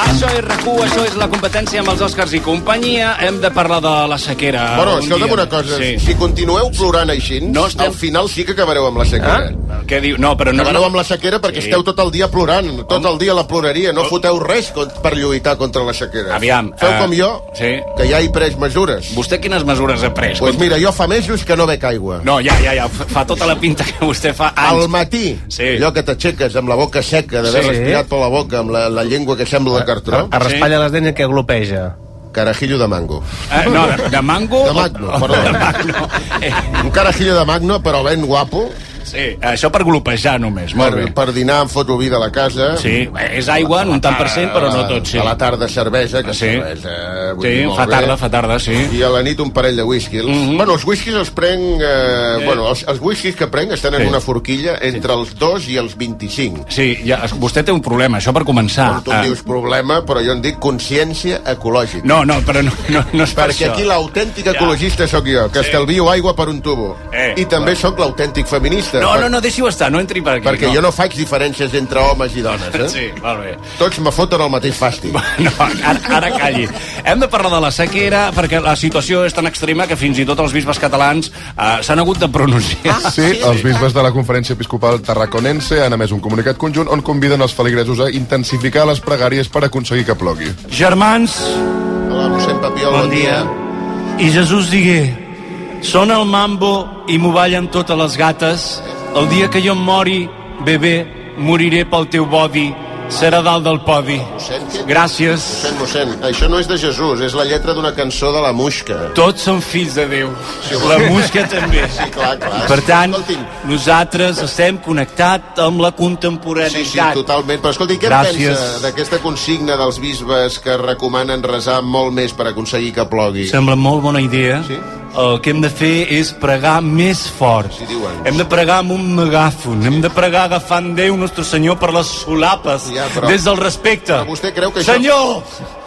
[SPEAKER 2] Això és rac això és la competència amb els Oscars i companyia. Hem de parlar de la sequera.
[SPEAKER 3] Bueno,
[SPEAKER 2] un
[SPEAKER 3] escolta'm
[SPEAKER 2] dia.
[SPEAKER 3] una cosa.
[SPEAKER 2] Sí.
[SPEAKER 3] Si continueu plorant així, no estem... al final sí que acabareu amb la sequera.
[SPEAKER 2] Eh? Què diu? No, però no...
[SPEAKER 3] Acabareu amb la sequera perquè
[SPEAKER 2] Sí.
[SPEAKER 3] esteu tot el dia plorant, tot el dia la ploreria. No foteu res cont- per lluitar contra la sequera.
[SPEAKER 2] Aviam.
[SPEAKER 3] Feu
[SPEAKER 2] eh,
[SPEAKER 3] com jo,
[SPEAKER 2] Sí.
[SPEAKER 3] que ja he pres mesures.
[SPEAKER 2] Vostè quines mesures ha pres?
[SPEAKER 3] Doncs pues mira, jo fa mesos que no bec aigua.
[SPEAKER 2] No, ja, ja, ja. Fa tota la pinta que vostè fa anys.
[SPEAKER 3] Al matí,
[SPEAKER 2] Sí.
[SPEAKER 3] allò que t'aixeques amb la boca seca, d'haver
[SPEAKER 6] Sí.
[SPEAKER 3] sí. respirat per la boca, amb la, la llengua que sembla de cartró...
[SPEAKER 6] Es raspalla les dents i que glopeja.
[SPEAKER 3] Carajillo de mango.
[SPEAKER 2] Eh, no, de, de mango...
[SPEAKER 3] De magno, perdó. De
[SPEAKER 2] magno. Eh.
[SPEAKER 3] Un carajillo de magno, però ben guapo.
[SPEAKER 2] Sí, això per glopejar només, molt
[SPEAKER 3] per,
[SPEAKER 2] bé.
[SPEAKER 3] Per dinar em foto vi de la casa.
[SPEAKER 2] Sí, és aigua en un tant per cent, però no tot, sí.
[SPEAKER 3] A la tarda cervesa, que sí. cervesa... eh, vull
[SPEAKER 2] Sí,
[SPEAKER 3] dir, molt
[SPEAKER 2] fa
[SPEAKER 3] bé.
[SPEAKER 2] tarda, fa tarda, sí. Mhm.
[SPEAKER 3] I a la nit un parell de whiskies. Mm -hmm. Bueno, els whiskies els prenc... Eh,
[SPEAKER 2] Eh.
[SPEAKER 3] Bueno, els, els whiskies que prenc estan en
[SPEAKER 2] Sí.
[SPEAKER 3] una forquilla entre els 2 i els 25.
[SPEAKER 2] Sí, ja, es- vostè té un problema, això per començar. Ah.
[SPEAKER 3] Tu em dius problema, però jo en dic consciència ecològica.
[SPEAKER 2] No, no, però no, no, no és per
[SPEAKER 3] Perquè
[SPEAKER 2] això.
[SPEAKER 3] aquí l'autèntic
[SPEAKER 2] Ja.
[SPEAKER 3] ecologista sóc jo, que
[SPEAKER 2] Sí.
[SPEAKER 3] estalvio aigua per un tubo.
[SPEAKER 2] Eh,
[SPEAKER 3] I també sóc l'autèntic feminista.
[SPEAKER 2] No,
[SPEAKER 3] per-
[SPEAKER 2] no, no, deixi-ho estar, no entri per aquí.
[SPEAKER 3] Perquè jo no faig diferències entre homes i dones, eh?
[SPEAKER 2] Sí, molt bé.
[SPEAKER 3] Tots me foten el mateix fàstic.
[SPEAKER 2] No, ara, ara calli. Hem de parlar de la sequera, perquè la situació és tan extrema que fins i tot els bisbes catalans eh, s'han hagut de pronunciar.
[SPEAKER 21] Ah, Sí, els bisbes de la Conferència Episcopal Tarraconense han emès un comunicat conjunt on conviden els feligresos a intensificar les pregàries per aconseguir que plogui.
[SPEAKER 5] Germans,
[SPEAKER 3] Hola, mossèn Papiol,
[SPEAKER 5] bon dia. I Jesús digué, són el mambo i m'ho ballen totes les gates. El dia que jo em mori, bebè, moriré pel teu bodi. Serà dalt del podi. Gràcies.
[SPEAKER 3] Mossèn, mossèn, això no és de Jesús, és la lletra d'una cançó de la Muixca.
[SPEAKER 5] Tots són fills de Déu. La música també.
[SPEAKER 3] Sí, clar, clar.
[SPEAKER 5] Per tant, nosaltres estem connectats amb la contemporaneïtat.
[SPEAKER 3] Sí, sí, totalment. Però escolti, què en
[SPEAKER 5] Gràcies.
[SPEAKER 3] pensa d'aquesta consigna dels bisbes que recomanen resar molt més per aconseguir que plogui?
[SPEAKER 5] Sembla molt bona idea. Sí? El que hem de fer és pregar més fort. Sí,
[SPEAKER 3] Eh,
[SPEAKER 5] hem de pregar amb un megàfon. Hem de pregar agafant Déu Nostre Senyor per les solapes. Ja,
[SPEAKER 3] però-
[SPEAKER 5] Des del respecte.
[SPEAKER 3] Però vostè creu que això-
[SPEAKER 5] Senyor!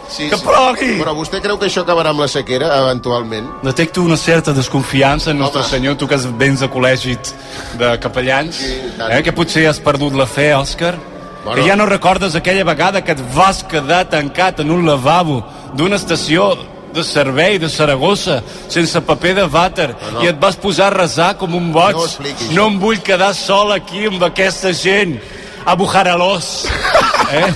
[SPEAKER 3] Sí,
[SPEAKER 5] que
[SPEAKER 3] sí.
[SPEAKER 5] plogui!
[SPEAKER 3] Però vostè creu que això acabarà amb la sequera, eventualment?
[SPEAKER 5] Detecto una certa desconfiança en Nostre Senyor, tu que has- vens de col·legi de capellans, eh, que potser has perdut la fe, Òscar,
[SPEAKER 21] Bueno.
[SPEAKER 5] que ja no recordes aquella vegada que et vas quedar tancat en un lavabo d'una estació de servei de Saragossa sense paper de vàter
[SPEAKER 21] no.
[SPEAKER 5] i et vas posar a resar com un boig.
[SPEAKER 21] No ho expliquis.
[SPEAKER 5] No em vull quedar sol aquí amb aquesta gent. A Bujaralós. Eh?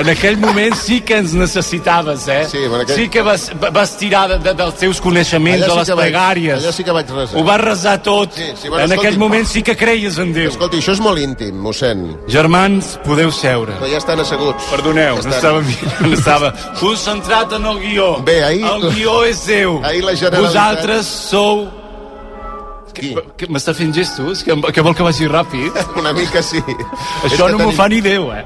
[SPEAKER 5] En aquell moment sí que ens necessitaves, eh?
[SPEAKER 3] Sí, per aquell-
[SPEAKER 5] sí que vas, va- vas tirar de, de, dels teus coneixements,
[SPEAKER 3] Allà
[SPEAKER 5] de
[SPEAKER 3] sí
[SPEAKER 5] les
[SPEAKER 3] que vaig-
[SPEAKER 5] pregàries.
[SPEAKER 3] allà sí que vaig resar.
[SPEAKER 5] Ho vas resar tot.
[SPEAKER 3] Sí, sí, bueno,
[SPEAKER 5] en
[SPEAKER 3] escolti-
[SPEAKER 5] aquell moment sí que creies en Déu.
[SPEAKER 3] Escolta, això és molt íntim, mossèn.
[SPEAKER 5] Germans, podeu seure.
[SPEAKER 3] Però ja estan asseguts.
[SPEAKER 5] Perdoneu, no estava, mirant, estava concentrat en el guió. Bé, ahir... El guió és seu.
[SPEAKER 3] Ahir la Generalitat-
[SPEAKER 5] Vosaltres sou... Qui? Que M'està fent gestos? Que, que vol que vagi ràpid?
[SPEAKER 3] Una mica sí.
[SPEAKER 5] Això no m'ho fa ni Déu, eh?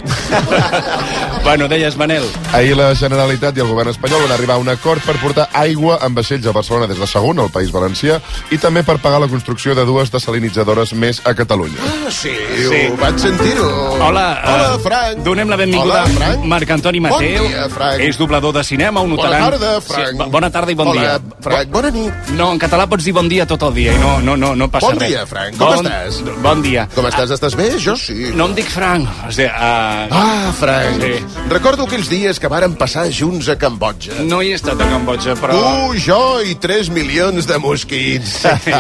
[SPEAKER 5] bueno, deies, Manel.
[SPEAKER 21] Ahir la Generalitat i el govern espanyol van arribar a un acord per portar aigua amb vaixells a Barcelona des de segon, al País Valencià, i també per pagar la construcció de dues desalinitzadores més a Catalunya.
[SPEAKER 3] Ah, sí, sí. ho vaig sentir-ho.
[SPEAKER 5] Hola,
[SPEAKER 3] Hola,
[SPEAKER 5] eh,
[SPEAKER 3] Frank.
[SPEAKER 5] Donem la benvinguda
[SPEAKER 3] Hola,
[SPEAKER 5] a
[SPEAKER 3] Frank.
[SPEAKER 5] Marc Antoni
[SPEAKER 3] Bon
[SPEAKER 5] Mateu.
[SPEAKER 3] dia, Frank.
[SPEAKER 5] És doblador de cinema, un
[SPEAKER 3] Bona
[SPEAKER 5] notaran...
[SPEAKER 3] tarda, Frank.
[SPEAKER 5] bo- bona tarda i bon
[SPEAKER 3] Hola,
[SPEAKER 5] dia.
[SPEAKER 3] Frank,
[SPEAKER 5] bona nit. No, en català pots dir bon dia tot el dia i no, no, no, no passa
[SPEAKER 3] Bon
[SPEAKER 5] res.
[SPEAKER 3] dia, Frank. Com
[SPEAKER 5] bon,
[SPEAKER 3] estàs?
[SPEAKER 5] Bon dia.
[SPEAKER 3] Com estàs? Estàs bé? Jo Ah, sí.
[SPEAKER 5] No em dic Frank. O sigui, uh...
[SPEAKER 3] Ah, Frank.
[SPEAKER 5] Sí.
[SPEAKER 3] Recordo aquells dies que varen passar junts a Cambodja.
[SPEAKER 5] No hi he estat a Cambodja, però...
[SPEAKER 3] Tu, jo i 3 milions de mosquits. Sí, sí.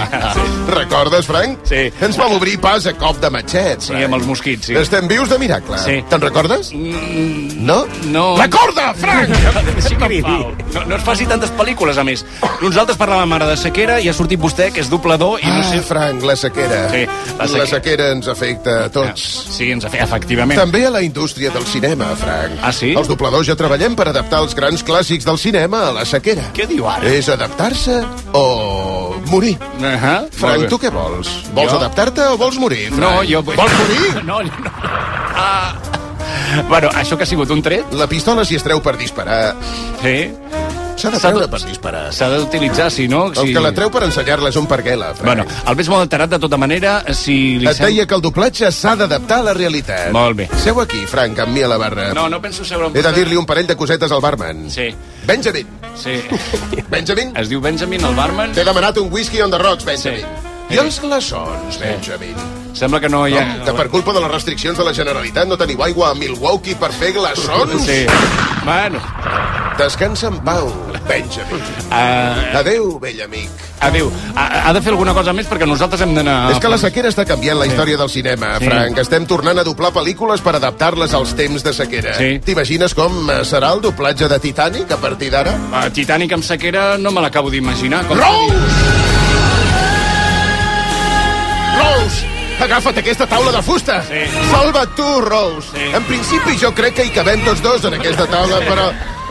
[SPEAKER 3] Recordes, Frank? Sí. Ens vam obrir pas a cop de matxet,
[SPEAKER 5] Sí, amb els mosquits, sí.
[SPEAKER 3] Estem vius de miracle.
[SPEAKER 5] Sí.
[SPEAKER 3] Te'n recordes?
[SPEAKER 5] Mm,
[SPEAKER 3] No?
[SPEAKER 5] No.
[SPEAKER 3] Recorda, Frank!
[SPEAKER 5] Sí que em fal. no, no es faci tantes pel·lícules, a més. Nosaltres parlàvem ara de sequera i ha sortit vostè, que és doblador, i no sé...
[SPEAKER 3] Ah, Frank, la sequera.
[SPEAKER 5] Sí, la
[SPEAKER 3] La
[SPEAKER 5] sequera.
[SPEAKER 3] sequera ens afecta a tots.
[SPEAKER 5] Sí, ens afecta, efectivament.
[SPEAKER 3] També a la indústria del cinema, Frank.
[SPEAKER 5] Ah, sí?
[SPEAKER 3] Els dobladors ja treballem per adaptar els grans clàssics del cinema a la sequera.
[SPEAKER 5] Què diu ara?
[SPEAKER 3] És adaptar-se o morir.
[SPEAKER 5] Uh -huh.
[SPEAKER 3] Frank, tu què vols? Vols
[SPEAKER 5] Jo?
[SPEAKER 3] adaptar-te o vols morir, Frank?
[SPEAKER 5] No, jo...
[SPEAKER 3] Vols morir?
[SPEAKER 5] No, no. Ah. Bueno, això que ha sigut un tret...
[SPEAKER 3] La pistola, si es treu per disparar...
[SPEAKER 5] Sí?
[SPEAKER 3] S'ha de treure per disparar.
[SPEAKER 5] S'ha d'utilitzar, si no...
[SPEAKER 3] El que la treu per ensenyar-la és un perguela, Frank.
[SPEAKER 5] Bueno, el més molt alterat, de tota manera, si li
[SPEAKER 3] Et deia que el doblatge s'ha d'adaptar a la realitat.
[SPEAKER 5] Molt bé.
[SPEAKER 3] Eh, Seu aquí, Frank, amb mi a la barra.
[SPEAKER 5] No, no penso seure... amb
[SPEAKER 3] He de
[SPEAKER 5] vostè.
[SPEAKER 3] dir-li un parell de cosetes al barman.
[SPEAKER 5] Sí,
[SPEAKER 3] Benjamin,
[SPEAKER 5] sí.
[SPEAKER 3] Benjamin.
[SPEAKER 5] Es diu Benjamin, el barman?
[SPEAKER 3] T'he demanat un whisky on the rocks, Benjamin. I els glaçons, Benjamin.
[SPEAKER 5] Sembla que no hi ha...
[SPEAKER 3] No, que per culpa de les restriccions de la Generalitat no teniu aigua a Milwaukee per fer glaçons?
[SPEAKER 5] Sí. Bueno.
[SPEAKER 3] Descansa en pau, Benjamin.
[SPEAKER 5] Uh,
[SPEAKER 3] Adeu, vell amic.
[SPEAKER 5] adéu. Ha, ha de fer alguna cosa més perquè nosaltres hem d'anar...
[SPEAKER 3] És que la sequera està canviant la història del cinema,
[SPEAKER 5] Sí.
[SPEAKER 3] Frank. Estem tornant a doblar pel·lícules per adaptar-les als temps de sequera.
[SPEAKER 5] Sí.
[SPEAKER 3] T'imagines com eh, serà el doblatge de Titanic a partir d'ara?
[SPEAKER 5] Uh, Titanic amb sequera no me l'acabo d'imaginar. Com...
[SPEAKER 3] Rose! Agafa't aquesta taula de fusta!
[SPEAKER 5] Sí.
[SPEAKER 3] Salva't tu, Rose!
[SPEAKER 5] Sí.
[SPEAKER 3] En principi jo crec que hi cabem tots dos en aquesta taula, però...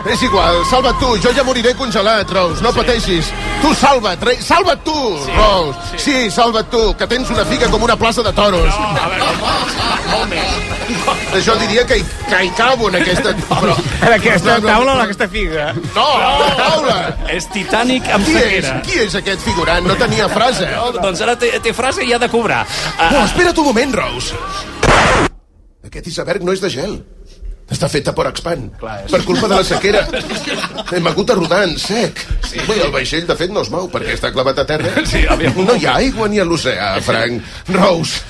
[SPEAKER 3] És igual, salva't tu, jo ja moriré congelat, Rose, no pateixis. Tu salva't, rei, salva't tu, Rose. Sí. salva't tu, que tens una figa com una plaça de toros.
[SPEAKER 5] No, a veure, molt més.
[SPEAKER 3] Jo diria que hi, que hi cabo en aquesta... Però...
[SPEAKER 6] En aquesta
[SPEAKER 3] No, no,
[SPEAKER 6] taula o
[SPEAKER 3] no.
[SPEAKER 6] en aquesta figa?
[SPEAKER 3] No, la taula!
[SPEAKER 5] És Titanic amb
[SPEAKER 3] Qui és?
[SPEAKER 5] sequera.
[SPEAKER 3] Qui és aquest figurant? No tenia frase. Oh,
[SPEAKER 5] No, doncs ara té, té frase i ha de cobrar. Ah,
[SPEAKER 3] No, espera't un moment, Rose. Aquest iceberg no és de gel. Està fet a Porexpan.
[SPEAKER 5] és-
[SPEAKER 3] Per culpa de la sequera. Hem hagut de rodar en sec. Sí. Bé, el vaixell, de fet, no es mou perquè està clavat a terra.
[SPEAKER 5] Sí, òbviament.
[SPEAKER 3] No hi ha aigua ni a l'oceà, Frank. Rose,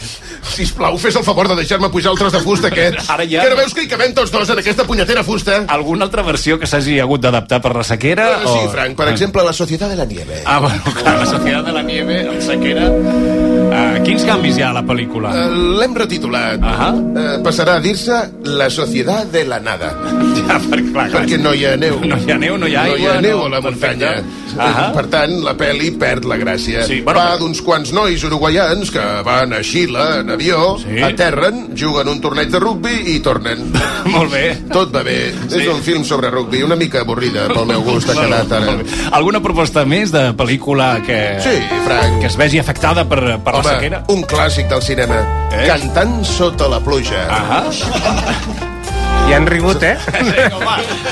[SPEAKER 3] sisplau, fes el favor de deixar-me pujar el tros de fusta aquest.
[SPEAKER 5] Ara ja.
[SPEAKER 3] Que no veus que hi cabem tots dos en aquesta punyetera fusta?
[SPEAKER 5] alguna altra versió que s'hagi hagut d'adaptar per la sequera?
[SPEAKER 3] Ah, sí,
[SPEAKER 5] o...
[SPEAKER 3] Frank, per exemple, la Societat de la Nieve.
[SPEAKER 5] Ah, bueno, clar, la Societat de la Nieve, amb sequera... Ah, quins canvis hi ha a la pel·lícula?
[SPEAKER 3] Eh, L'hem retitulat.
[SPEAKER 5] Ahà.
[SPEAKER 3] Eh, Passarà a dir-se La Societat de la Nada.
[SPEAKER 5] Ja, per, clar, clar.
[SPEAKER 3] Perquè no hi ha neu.
[SPEAKER 5] No hi ha neu, no hi ha aigua.
[SPEAKER 3] No hi ha neu a la
[SPEAKER 5] perfecte.
[SPEAKER 3] muntanya.
[SPEAKER 5] Ahà.
[SPEAKER 3] Per tant, la peli perd la gràcia.
[SPEAKER 5] Sí, bueno,
[SPEAKER 3] Va
[SPEAKER 5] però-
[SPEAKER 3] d'uns quants nois uruguaians que van a Xile en avió,
[SPEAKER 5] Sí.
[SPEAKER 3] aterren, juguen un torneig de rugbi i tornen.
[SPEAKER 5] Molt bé.
[SPEAKER 3] Tot va bé. És un film sobre rugbi, una mica avorrida pel meu gust, ha quedat ara.
[SPEAKER 5] Molt bé. Alguna proposta més de pel·lícula que...
[SPEAKER 3] Sí, Frank.
[SPEAKER 5] Que es vegi afectada per, per la
[SPEAKER 3] Home,
[SPEAKER 5] sequera?
[SPEAKER 3] un clàssic del cinema.
[SPEAKER 5] Eh?
[SPEAKER 3] Cantant sota la pluja.
[SPEAKER 5] Ahà.
[SPEAKER 6] I han rigut, eh?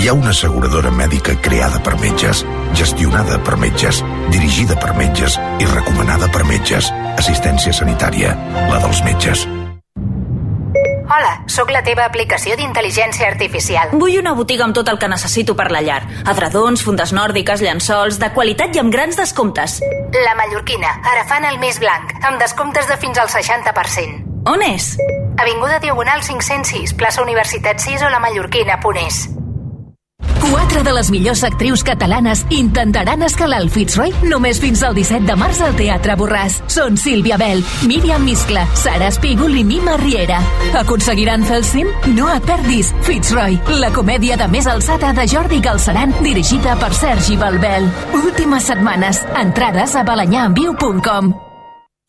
[SPEAKER 28] Hi ha una asseguradora mèdica creada per metges, gestionada per metges, dirigida per metges i recomanada per metges. Assistència sanitària, la dels metges.
[SPEAKER 24] Hola, sóc la teva aplicació d'intel·ligència artificial.
[SPEAKER 22] Vull una botiga amb tot el que necessito per la llar. Edredons, fundes nòrdiques, llençols, de qualitat i amb grans descomptes.
[SPEAKER 24] La Mallorquina, ara fan el més blanc, amb descomptes de fins al 60%.
[SPEAKER 22] On és?
[SPEAKER 24] Avinguda Diagonal 506, plaça Universitat 6 o la Mallorquina, Punés.
[SPEAKER 29] Quatre de les millors actrius catalanes intentaran escalar el Fitzroy només fins al 17 de març al Teatre Borràs. Són Sílvia Bell, Míriam Miscla, Sara Espígol i Mima Riera. Aconseguiran fer el cim? No et perdis Fitzroy, la comèdia de més alçada de Jordi Galceran, dirigida per Sergi Balbel. Últimes setmanes. Entrades a balanyaenviu.com.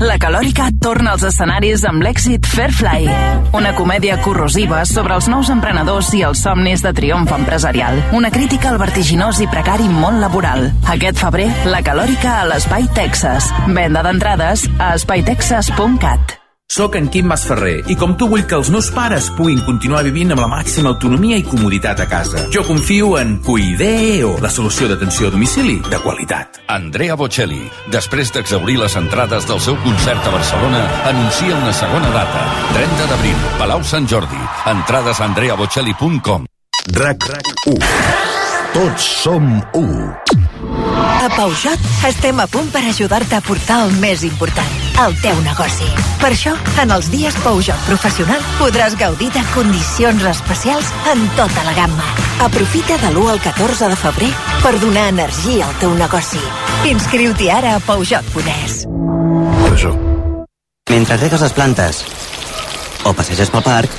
[SPEAKER 30] La Calòrica torna als escenaris amb l'èxit Fairfly, una comèdia corrosiva sobre els nous emprenedors i els somnis de triomf empresarial. Una crítica al vertiginós i precari món laboral. Aquest febrer, La Calòrica a l'Espai Texas. Venda d'entrades a espaitexas.cat.
[SPEAKER 31] Soc en Quim Masferrer i com tu vull que els meus pares puguin continuar vivint amb la màxima autonomia i comoditat a casa. Jo confio en Cuideo, la solució d'atenció a domicili de qualitat.
[SPEAKER 32] Andrea Bocelli, després d'exaurir les entrades del seu concert a Barcelona, anuncia una segona data. 30 d'abril, Palau Sant Jordi. Entrades a andreabocelli.com
[SPEAKER 2] RAC 1 Tots som 1
[SPEAKER 1] A Peugeot estem a punt per ajudar-te a portar el més important, el teu negoci. Per això, en els dies Peugeot Professional podràs gaudir de condicions especials en tota la gamma.
[SPEAKER 33] Aprofita de l'1 al 14 de febrer per donar energia al teu negoci.
[SPEAKER 1] Inscriu-t'hi ara a Peugeot.es.
[SPEAKER 23] Peugeot. Mentre regues les plantes o passeges pel parc,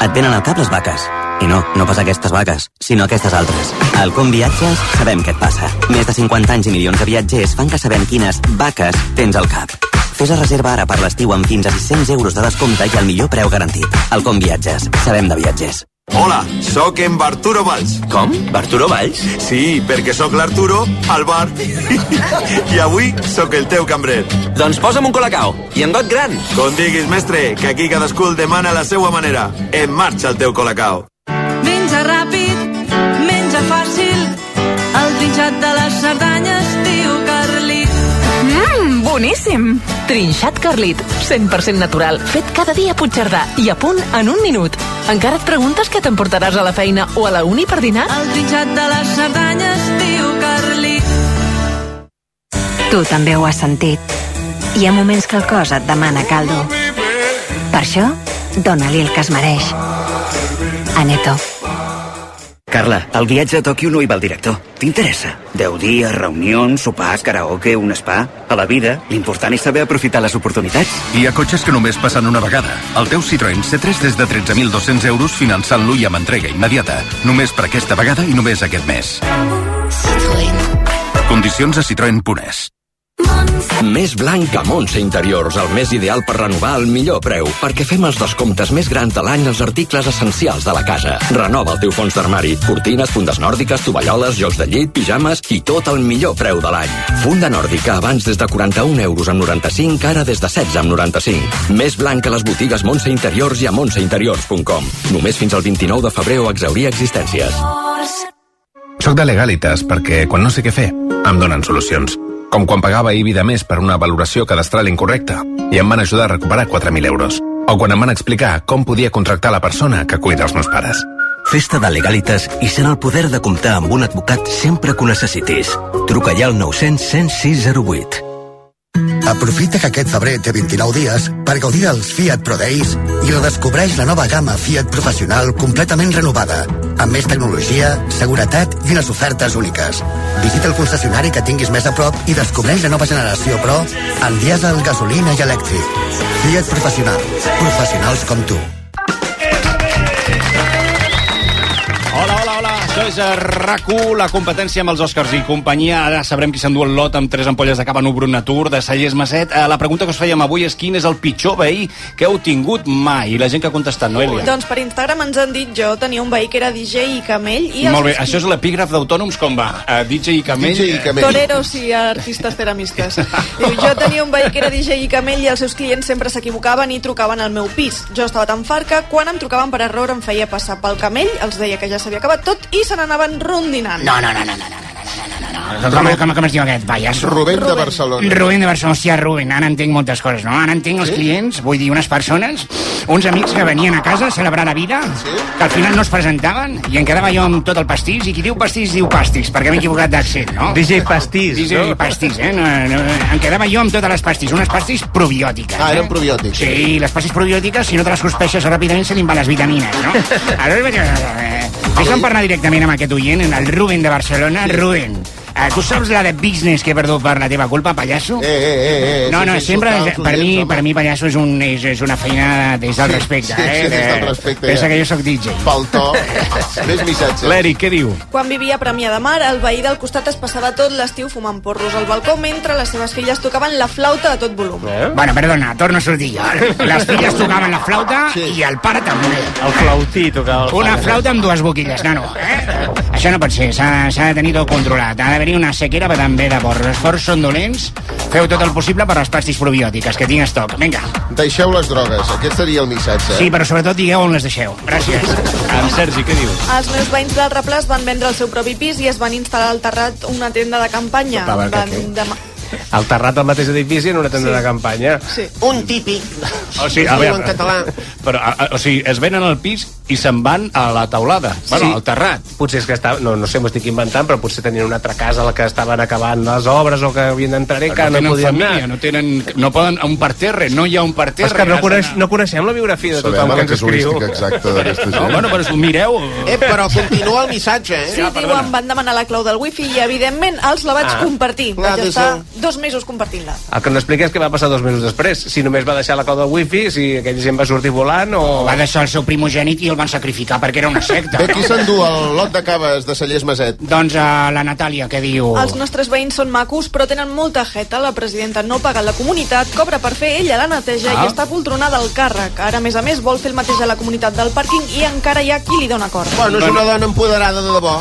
[SPEAKER 23] et venen al cap les vaques. I no, no pas aquestes vaques, sinó aquestes altres. Al Com Viatges sabem què et passa. Més de 50 anys i milions de viatgers fan que sabem quines vaques tens al cap. Fes a reserva ara per l'estiu amb fins a 600 euros de descompte i el millor preu garantit. Al Com Viatges. Sabem de viatgers.
[SPEAKER 34] Hola, sóc en Barturo Valls.
[SPEAKER 35] Com? Barturo Valls?
[SPEAKER 34] Sí, perquè sóc l'Arturo al bar. I avui sóc el teu cambrer.
[SPEAKER 35] Doncs posa'm un colacao i en got gran.
[SPEAKER 34] Com diguis, mestre, que aquí cadascú el demana a la seva manera. En marxa el teu colacao.
[SPEAKER 36] Menja ràpid, menja fàcil, el trinxat de les Cerdanyes, tio Carlit.
[SPEAKER 30] Mmm, boníssim! Trinxat Carlit, 100% natural, fet cada dia a Puigcerdà i a punt en un minut. Encara et preguntes què t'emportaràs a la feina o a la uni per dinar?
[SPEAKER 36] El trinxat de les Cerdanyes, tio Carlit.
[SPEAKER 15] Tu també ho has sentit.
[SPEAKER 37] Hi ha moments que el cos et demana caldo.
[SPEAKER 15] Per això, dona-li el que es mereix. Aneto.
[SPEAKER 23] Carla, el viatge a Tòquio no hi va el director. T'interessa? Deu dies, reunions, sopars, karaoke, un spa... A la vida, l'important és saber aprofitar les oportunitats.
[SPEAKER 24] Hi ha cotxes que només passen una vegada. El teu Citroën C3 des de 13.200 euros finançant-lo i amb entrega immediata. Només per aquesta vegada i només aquest mes. Condicions a Citroën Punès.
[SPEAKER 5] Més blanc que Montse Interiors, el més ideal per renovar al millor preu, perquè fem els descomptes més grans de l'any als articles essencials de la casa. Renova el teu fons d'armari, cortines, fundes nòrdiques, tovalloles, jocs de llit, pijames i tot el millor preu de l'any. Funda nòrdica abans des de 41 euros amb 95, ara des de 16 amb 95. Més blanc que les botigues Montse Interiors i a montseinteriors.com. Només fins al 29 de febrer o exaurir existències.
[SPEAKER 24] Soc de Legalitas perquè, quan no sé què fer, em donen solucions com quan pagava IBI de més per una valoració cadastral incorrecta i em van ajudar a recuperar 4.000 euros. O quan em van explicar com podia contractar la persona que cuida els meus pares.
[SPEAKER 5] Festa de Legalitas i sent el poder de comptar amb un advocat sempre que ho necessitis. Truca ja al 900 106 08.
[SPEAKER 2] Aprofita que aquest febrer té 29 dies per gaudir dels Fiat Pro Days i redescobreix la nova gamma Fiat Professional completament renovada, amb més tecnologia, seguretat i unes ofertes úniques. Visita el concessionari que tinguis més a prop i descobreix la nova generació Pro en dièsel, gasolina i elèctric. Fiat Professional. Professionals com tu.
[SPEAKER 5] Hola, hola, hola, això és eh, RAC1, la competència amb els Oscars i companyia. Ara sabrem qui s'endú el lot amb tres ampolles de cava Nubrun Natur, de Sallés Maset. Eh, La pregunta que us fèiem avui és quin és el pitjor veí que heu tingut mai? I la gent que ha contestat, Noelia.
[SPEAKER 9] Doncs per Instagram ens han dit jo tenia un veí que era DJ i camell i... els
[SPEAKER 5] Molt bé,
[SPEAKER 9] esqui-
[SPEAKER 5] això és l'epígraf d'autònoms, com va? Uh, DJ i Camell.
[SPEAKER 3] DJ i Camell.
[SPEAKER 9] Toreros i artistes ceramistes. Diu, jo tenia un veí que era DJ i camell i els seus clients sempre s'equivocaven i trucaven al meu pis. Jo estava tan fart que quan em trucaven per error em feia passar pel camell, els deia que ja s'havia acabat tot i se n'anaven rondinant.
[SPEAKER 12] No, no, no, no, no, no. Com, com, com es diu aquest? Vaja, és
[SPEAKER 3] Rubén de Barcelona.
[SPEAKER 12] Rubén de Barcelona. Hòstia, Rubén, ara entenc moltes coses, no? Ara entenc els clients, vull dir, unes persones, uns amics que venien a casa a celebrar la vida, que al final no es presentaven, i en quedava jo amb tot el pastís, i qui diu pastís diu pastís, perquè m'he equivocat d'accent, no?
[SPEAKER 6] DJ Pastís,
[SPEAKER 12] DJ
[SPEAKER 6] no?
[SPEAKER 12] pastís, eh? No, no, em quedava jo amb totes les pastís, unes pastís probiòtiques.
[SPEAKER 6] Ah, eren
[SPEAKER 12] eh?
[SPEAKER 6] probiòtics.
[SPEAKER 12] Sí, les pastís probiòtiques, si no te les sospeixes ràpidament, se li van les vitamines, no? Aleshores vaig... eh, Deixa'm parlar directament amb aquest oient, el Rubén de Barcelona. Rubén, eh, tu saps la de business que he perdut per la teva culpa, pallasso?
[SPEAKER 3] Eh, eh, eh, eh,
[SPEAKER 12] no, no,
[SPEAKER 3] sense
[SPEAKER 12] sempre,
[SPEAKER 3] insultar els
[SPEAKER 12] per,
[SPEAKER 3] oients,
[SPEAKER 12] mi,
[SPEAKER 3] home.
[SPEAKER 12] per mi, pallasso, és, un, és, és una feina des del respecte.
[SPEAKER 3] sí,
[SPEAKER 12] eh?
[SPEAKER 3] sí, des del
[SPEAKER 12] Eh,
[SPEAKER 3] respecte,
[SPEAKER 12] Pensa
[SPEAKER 3] ja.
[SPEAKER 12] que jo sóc DJ.
[SPEAKER 3] Pel to, més missatges.
[SPEAKER 5] L'Eric, què diu?
[SPEAKER 9] Quan vivia a Premià de Mar, el veí del costat es passava tot l'estiu fumant porros al balcó mentre les seves filles tocaven la flauta de tot volum.
[SPEAKER 12] Bueno, perdona, torno a sortir jo. Les filles tocaven la flauta sí. i el pare també.
[SPEAKER 6] El flautí tocava el
[SPEAKER 12] Una
[SPEAKER 6] pare.
[SPEAKER 12] flauta amb dues boquilles, nano. Eh? Això no pot ser, s'ha s'ha de tenir tot controlat. Ha d'haver-hi una sequera però també de porros. Els forts són dolents, feu tot el possible per les pastis probiòtiques, que tinc estoc. Vinga.
[SPEAKER 3] Deixeu les drogues, aquest seria el missatge.
[SPEAKER 12] Sí, però sobretot digueu on les deixeu. Gràcies.
[SPEAKER 5] En Sergi, què diu?
[SPEAKER 9] Els meus veïns del Replàs van vendre el seu propi pis i es van instal·lar al terrat una tenda de campanya.
[SPEAKER 6] Sopa, va, que
[SPEAKER 9] Van
[SPEAKER 6] feu.
[SPEAKER 9] dema-
[SPEAKER 6] Al terrat del mateix edifici en una tenda
[SPEAKER 9] Sí.
[SPEAKER 6] sí. de campanya.
[SPEAKER 9] Sí.
[SPEAKER 38] Un típic.
[SPEAKER 5] O sigui,
[SPEAKER 6] Es
[SPEAKER 5] a
[SPEAKER 6] diu
[SPEAKER 5] veure,
[SPEAKER 6] en català.
[SPEAKER 5] Però, a, a, o sigui, es venen al pis i se'n van a la taulada. Sí. Bueno, al terrat.
[SPEAKER 6] Potser és que estava... No, no sé, m'ho estic inventant, però potser tenien una altra casa a la que estaven acabant les obres o que havien d'entrar i que
[SPEAKER 5] no
[SPEAKER 6] no,
[SPEAKER 5] tenen
[SPEAKER 6] podien
[SPEAKER 5] família,
[SPEAKER 6] anar.
[SPEAKER 5] no tenen... No poden... Un parterre, no hi ha un parterre.
[SPEAKER 6] És que no,
[SPEAKER 5] has
[SPEAKER 6] coneix,
[SPEAKER 5] d'anar-
[SPEAKER 6] no coneixem la biografia de
[SPEAKER 3] Sabem
[SPEAKER 6] tothom que
[SPEAKER 3] la
[SPEAKER 6] ens escriu.
[SPEAKER 3] casuística exacta d'aquesta gent.
[SPEAKER 5] No, bueno, però us ho mireu...
[SPEAKER 38] Eh, però continua el missatge, eh?
[SPEAKER 9] Sí, diuen, van demanar la clau del wifi i, evidentment, els la vaig
[SPEAKER 38] Ah.
[SPEAKER 9] compartir.
[SPEAKER 38] Clar,
[SPEAKER 9] Vaig
[SPEAKER 38] des
[SPEAKER 9] estar
[SPEAKER 38] de-
[SPEAKER 9] dos mesos compartint-la.
[SPEAKER 6] El que no explica és què va passar dos mesos després. Si només va deixar la clau del wifi, si aquell gent va sortir volant o...
[SPEAKER 39] Va deixar el seu primogènit i el van sacrificar perquè era una secta.
[SPEAKER 12] Bé, qui s'endú el lot de caves de Cellers Maset?
[SPEAKER 39] Doncs a la Natàlia, que
[SPEAKER 38] Oh.
[SPEAKER 39] diu...
[SPEAKER 9] Els nostres veïns són macos, però tenen molta jeta. La presidenta no paga la comunitat, cobra per fer ella la neteja
[SPEAKER 39] Ah.
[SPEAKER 9] i està poltronada al càrrec. Ara, a més a més, vol fer el mateix a la comunitat del pàrquing i encara hi ha qui li dona cor.
[SPEAKER 3] Bueno, és una dona empoderada de debò.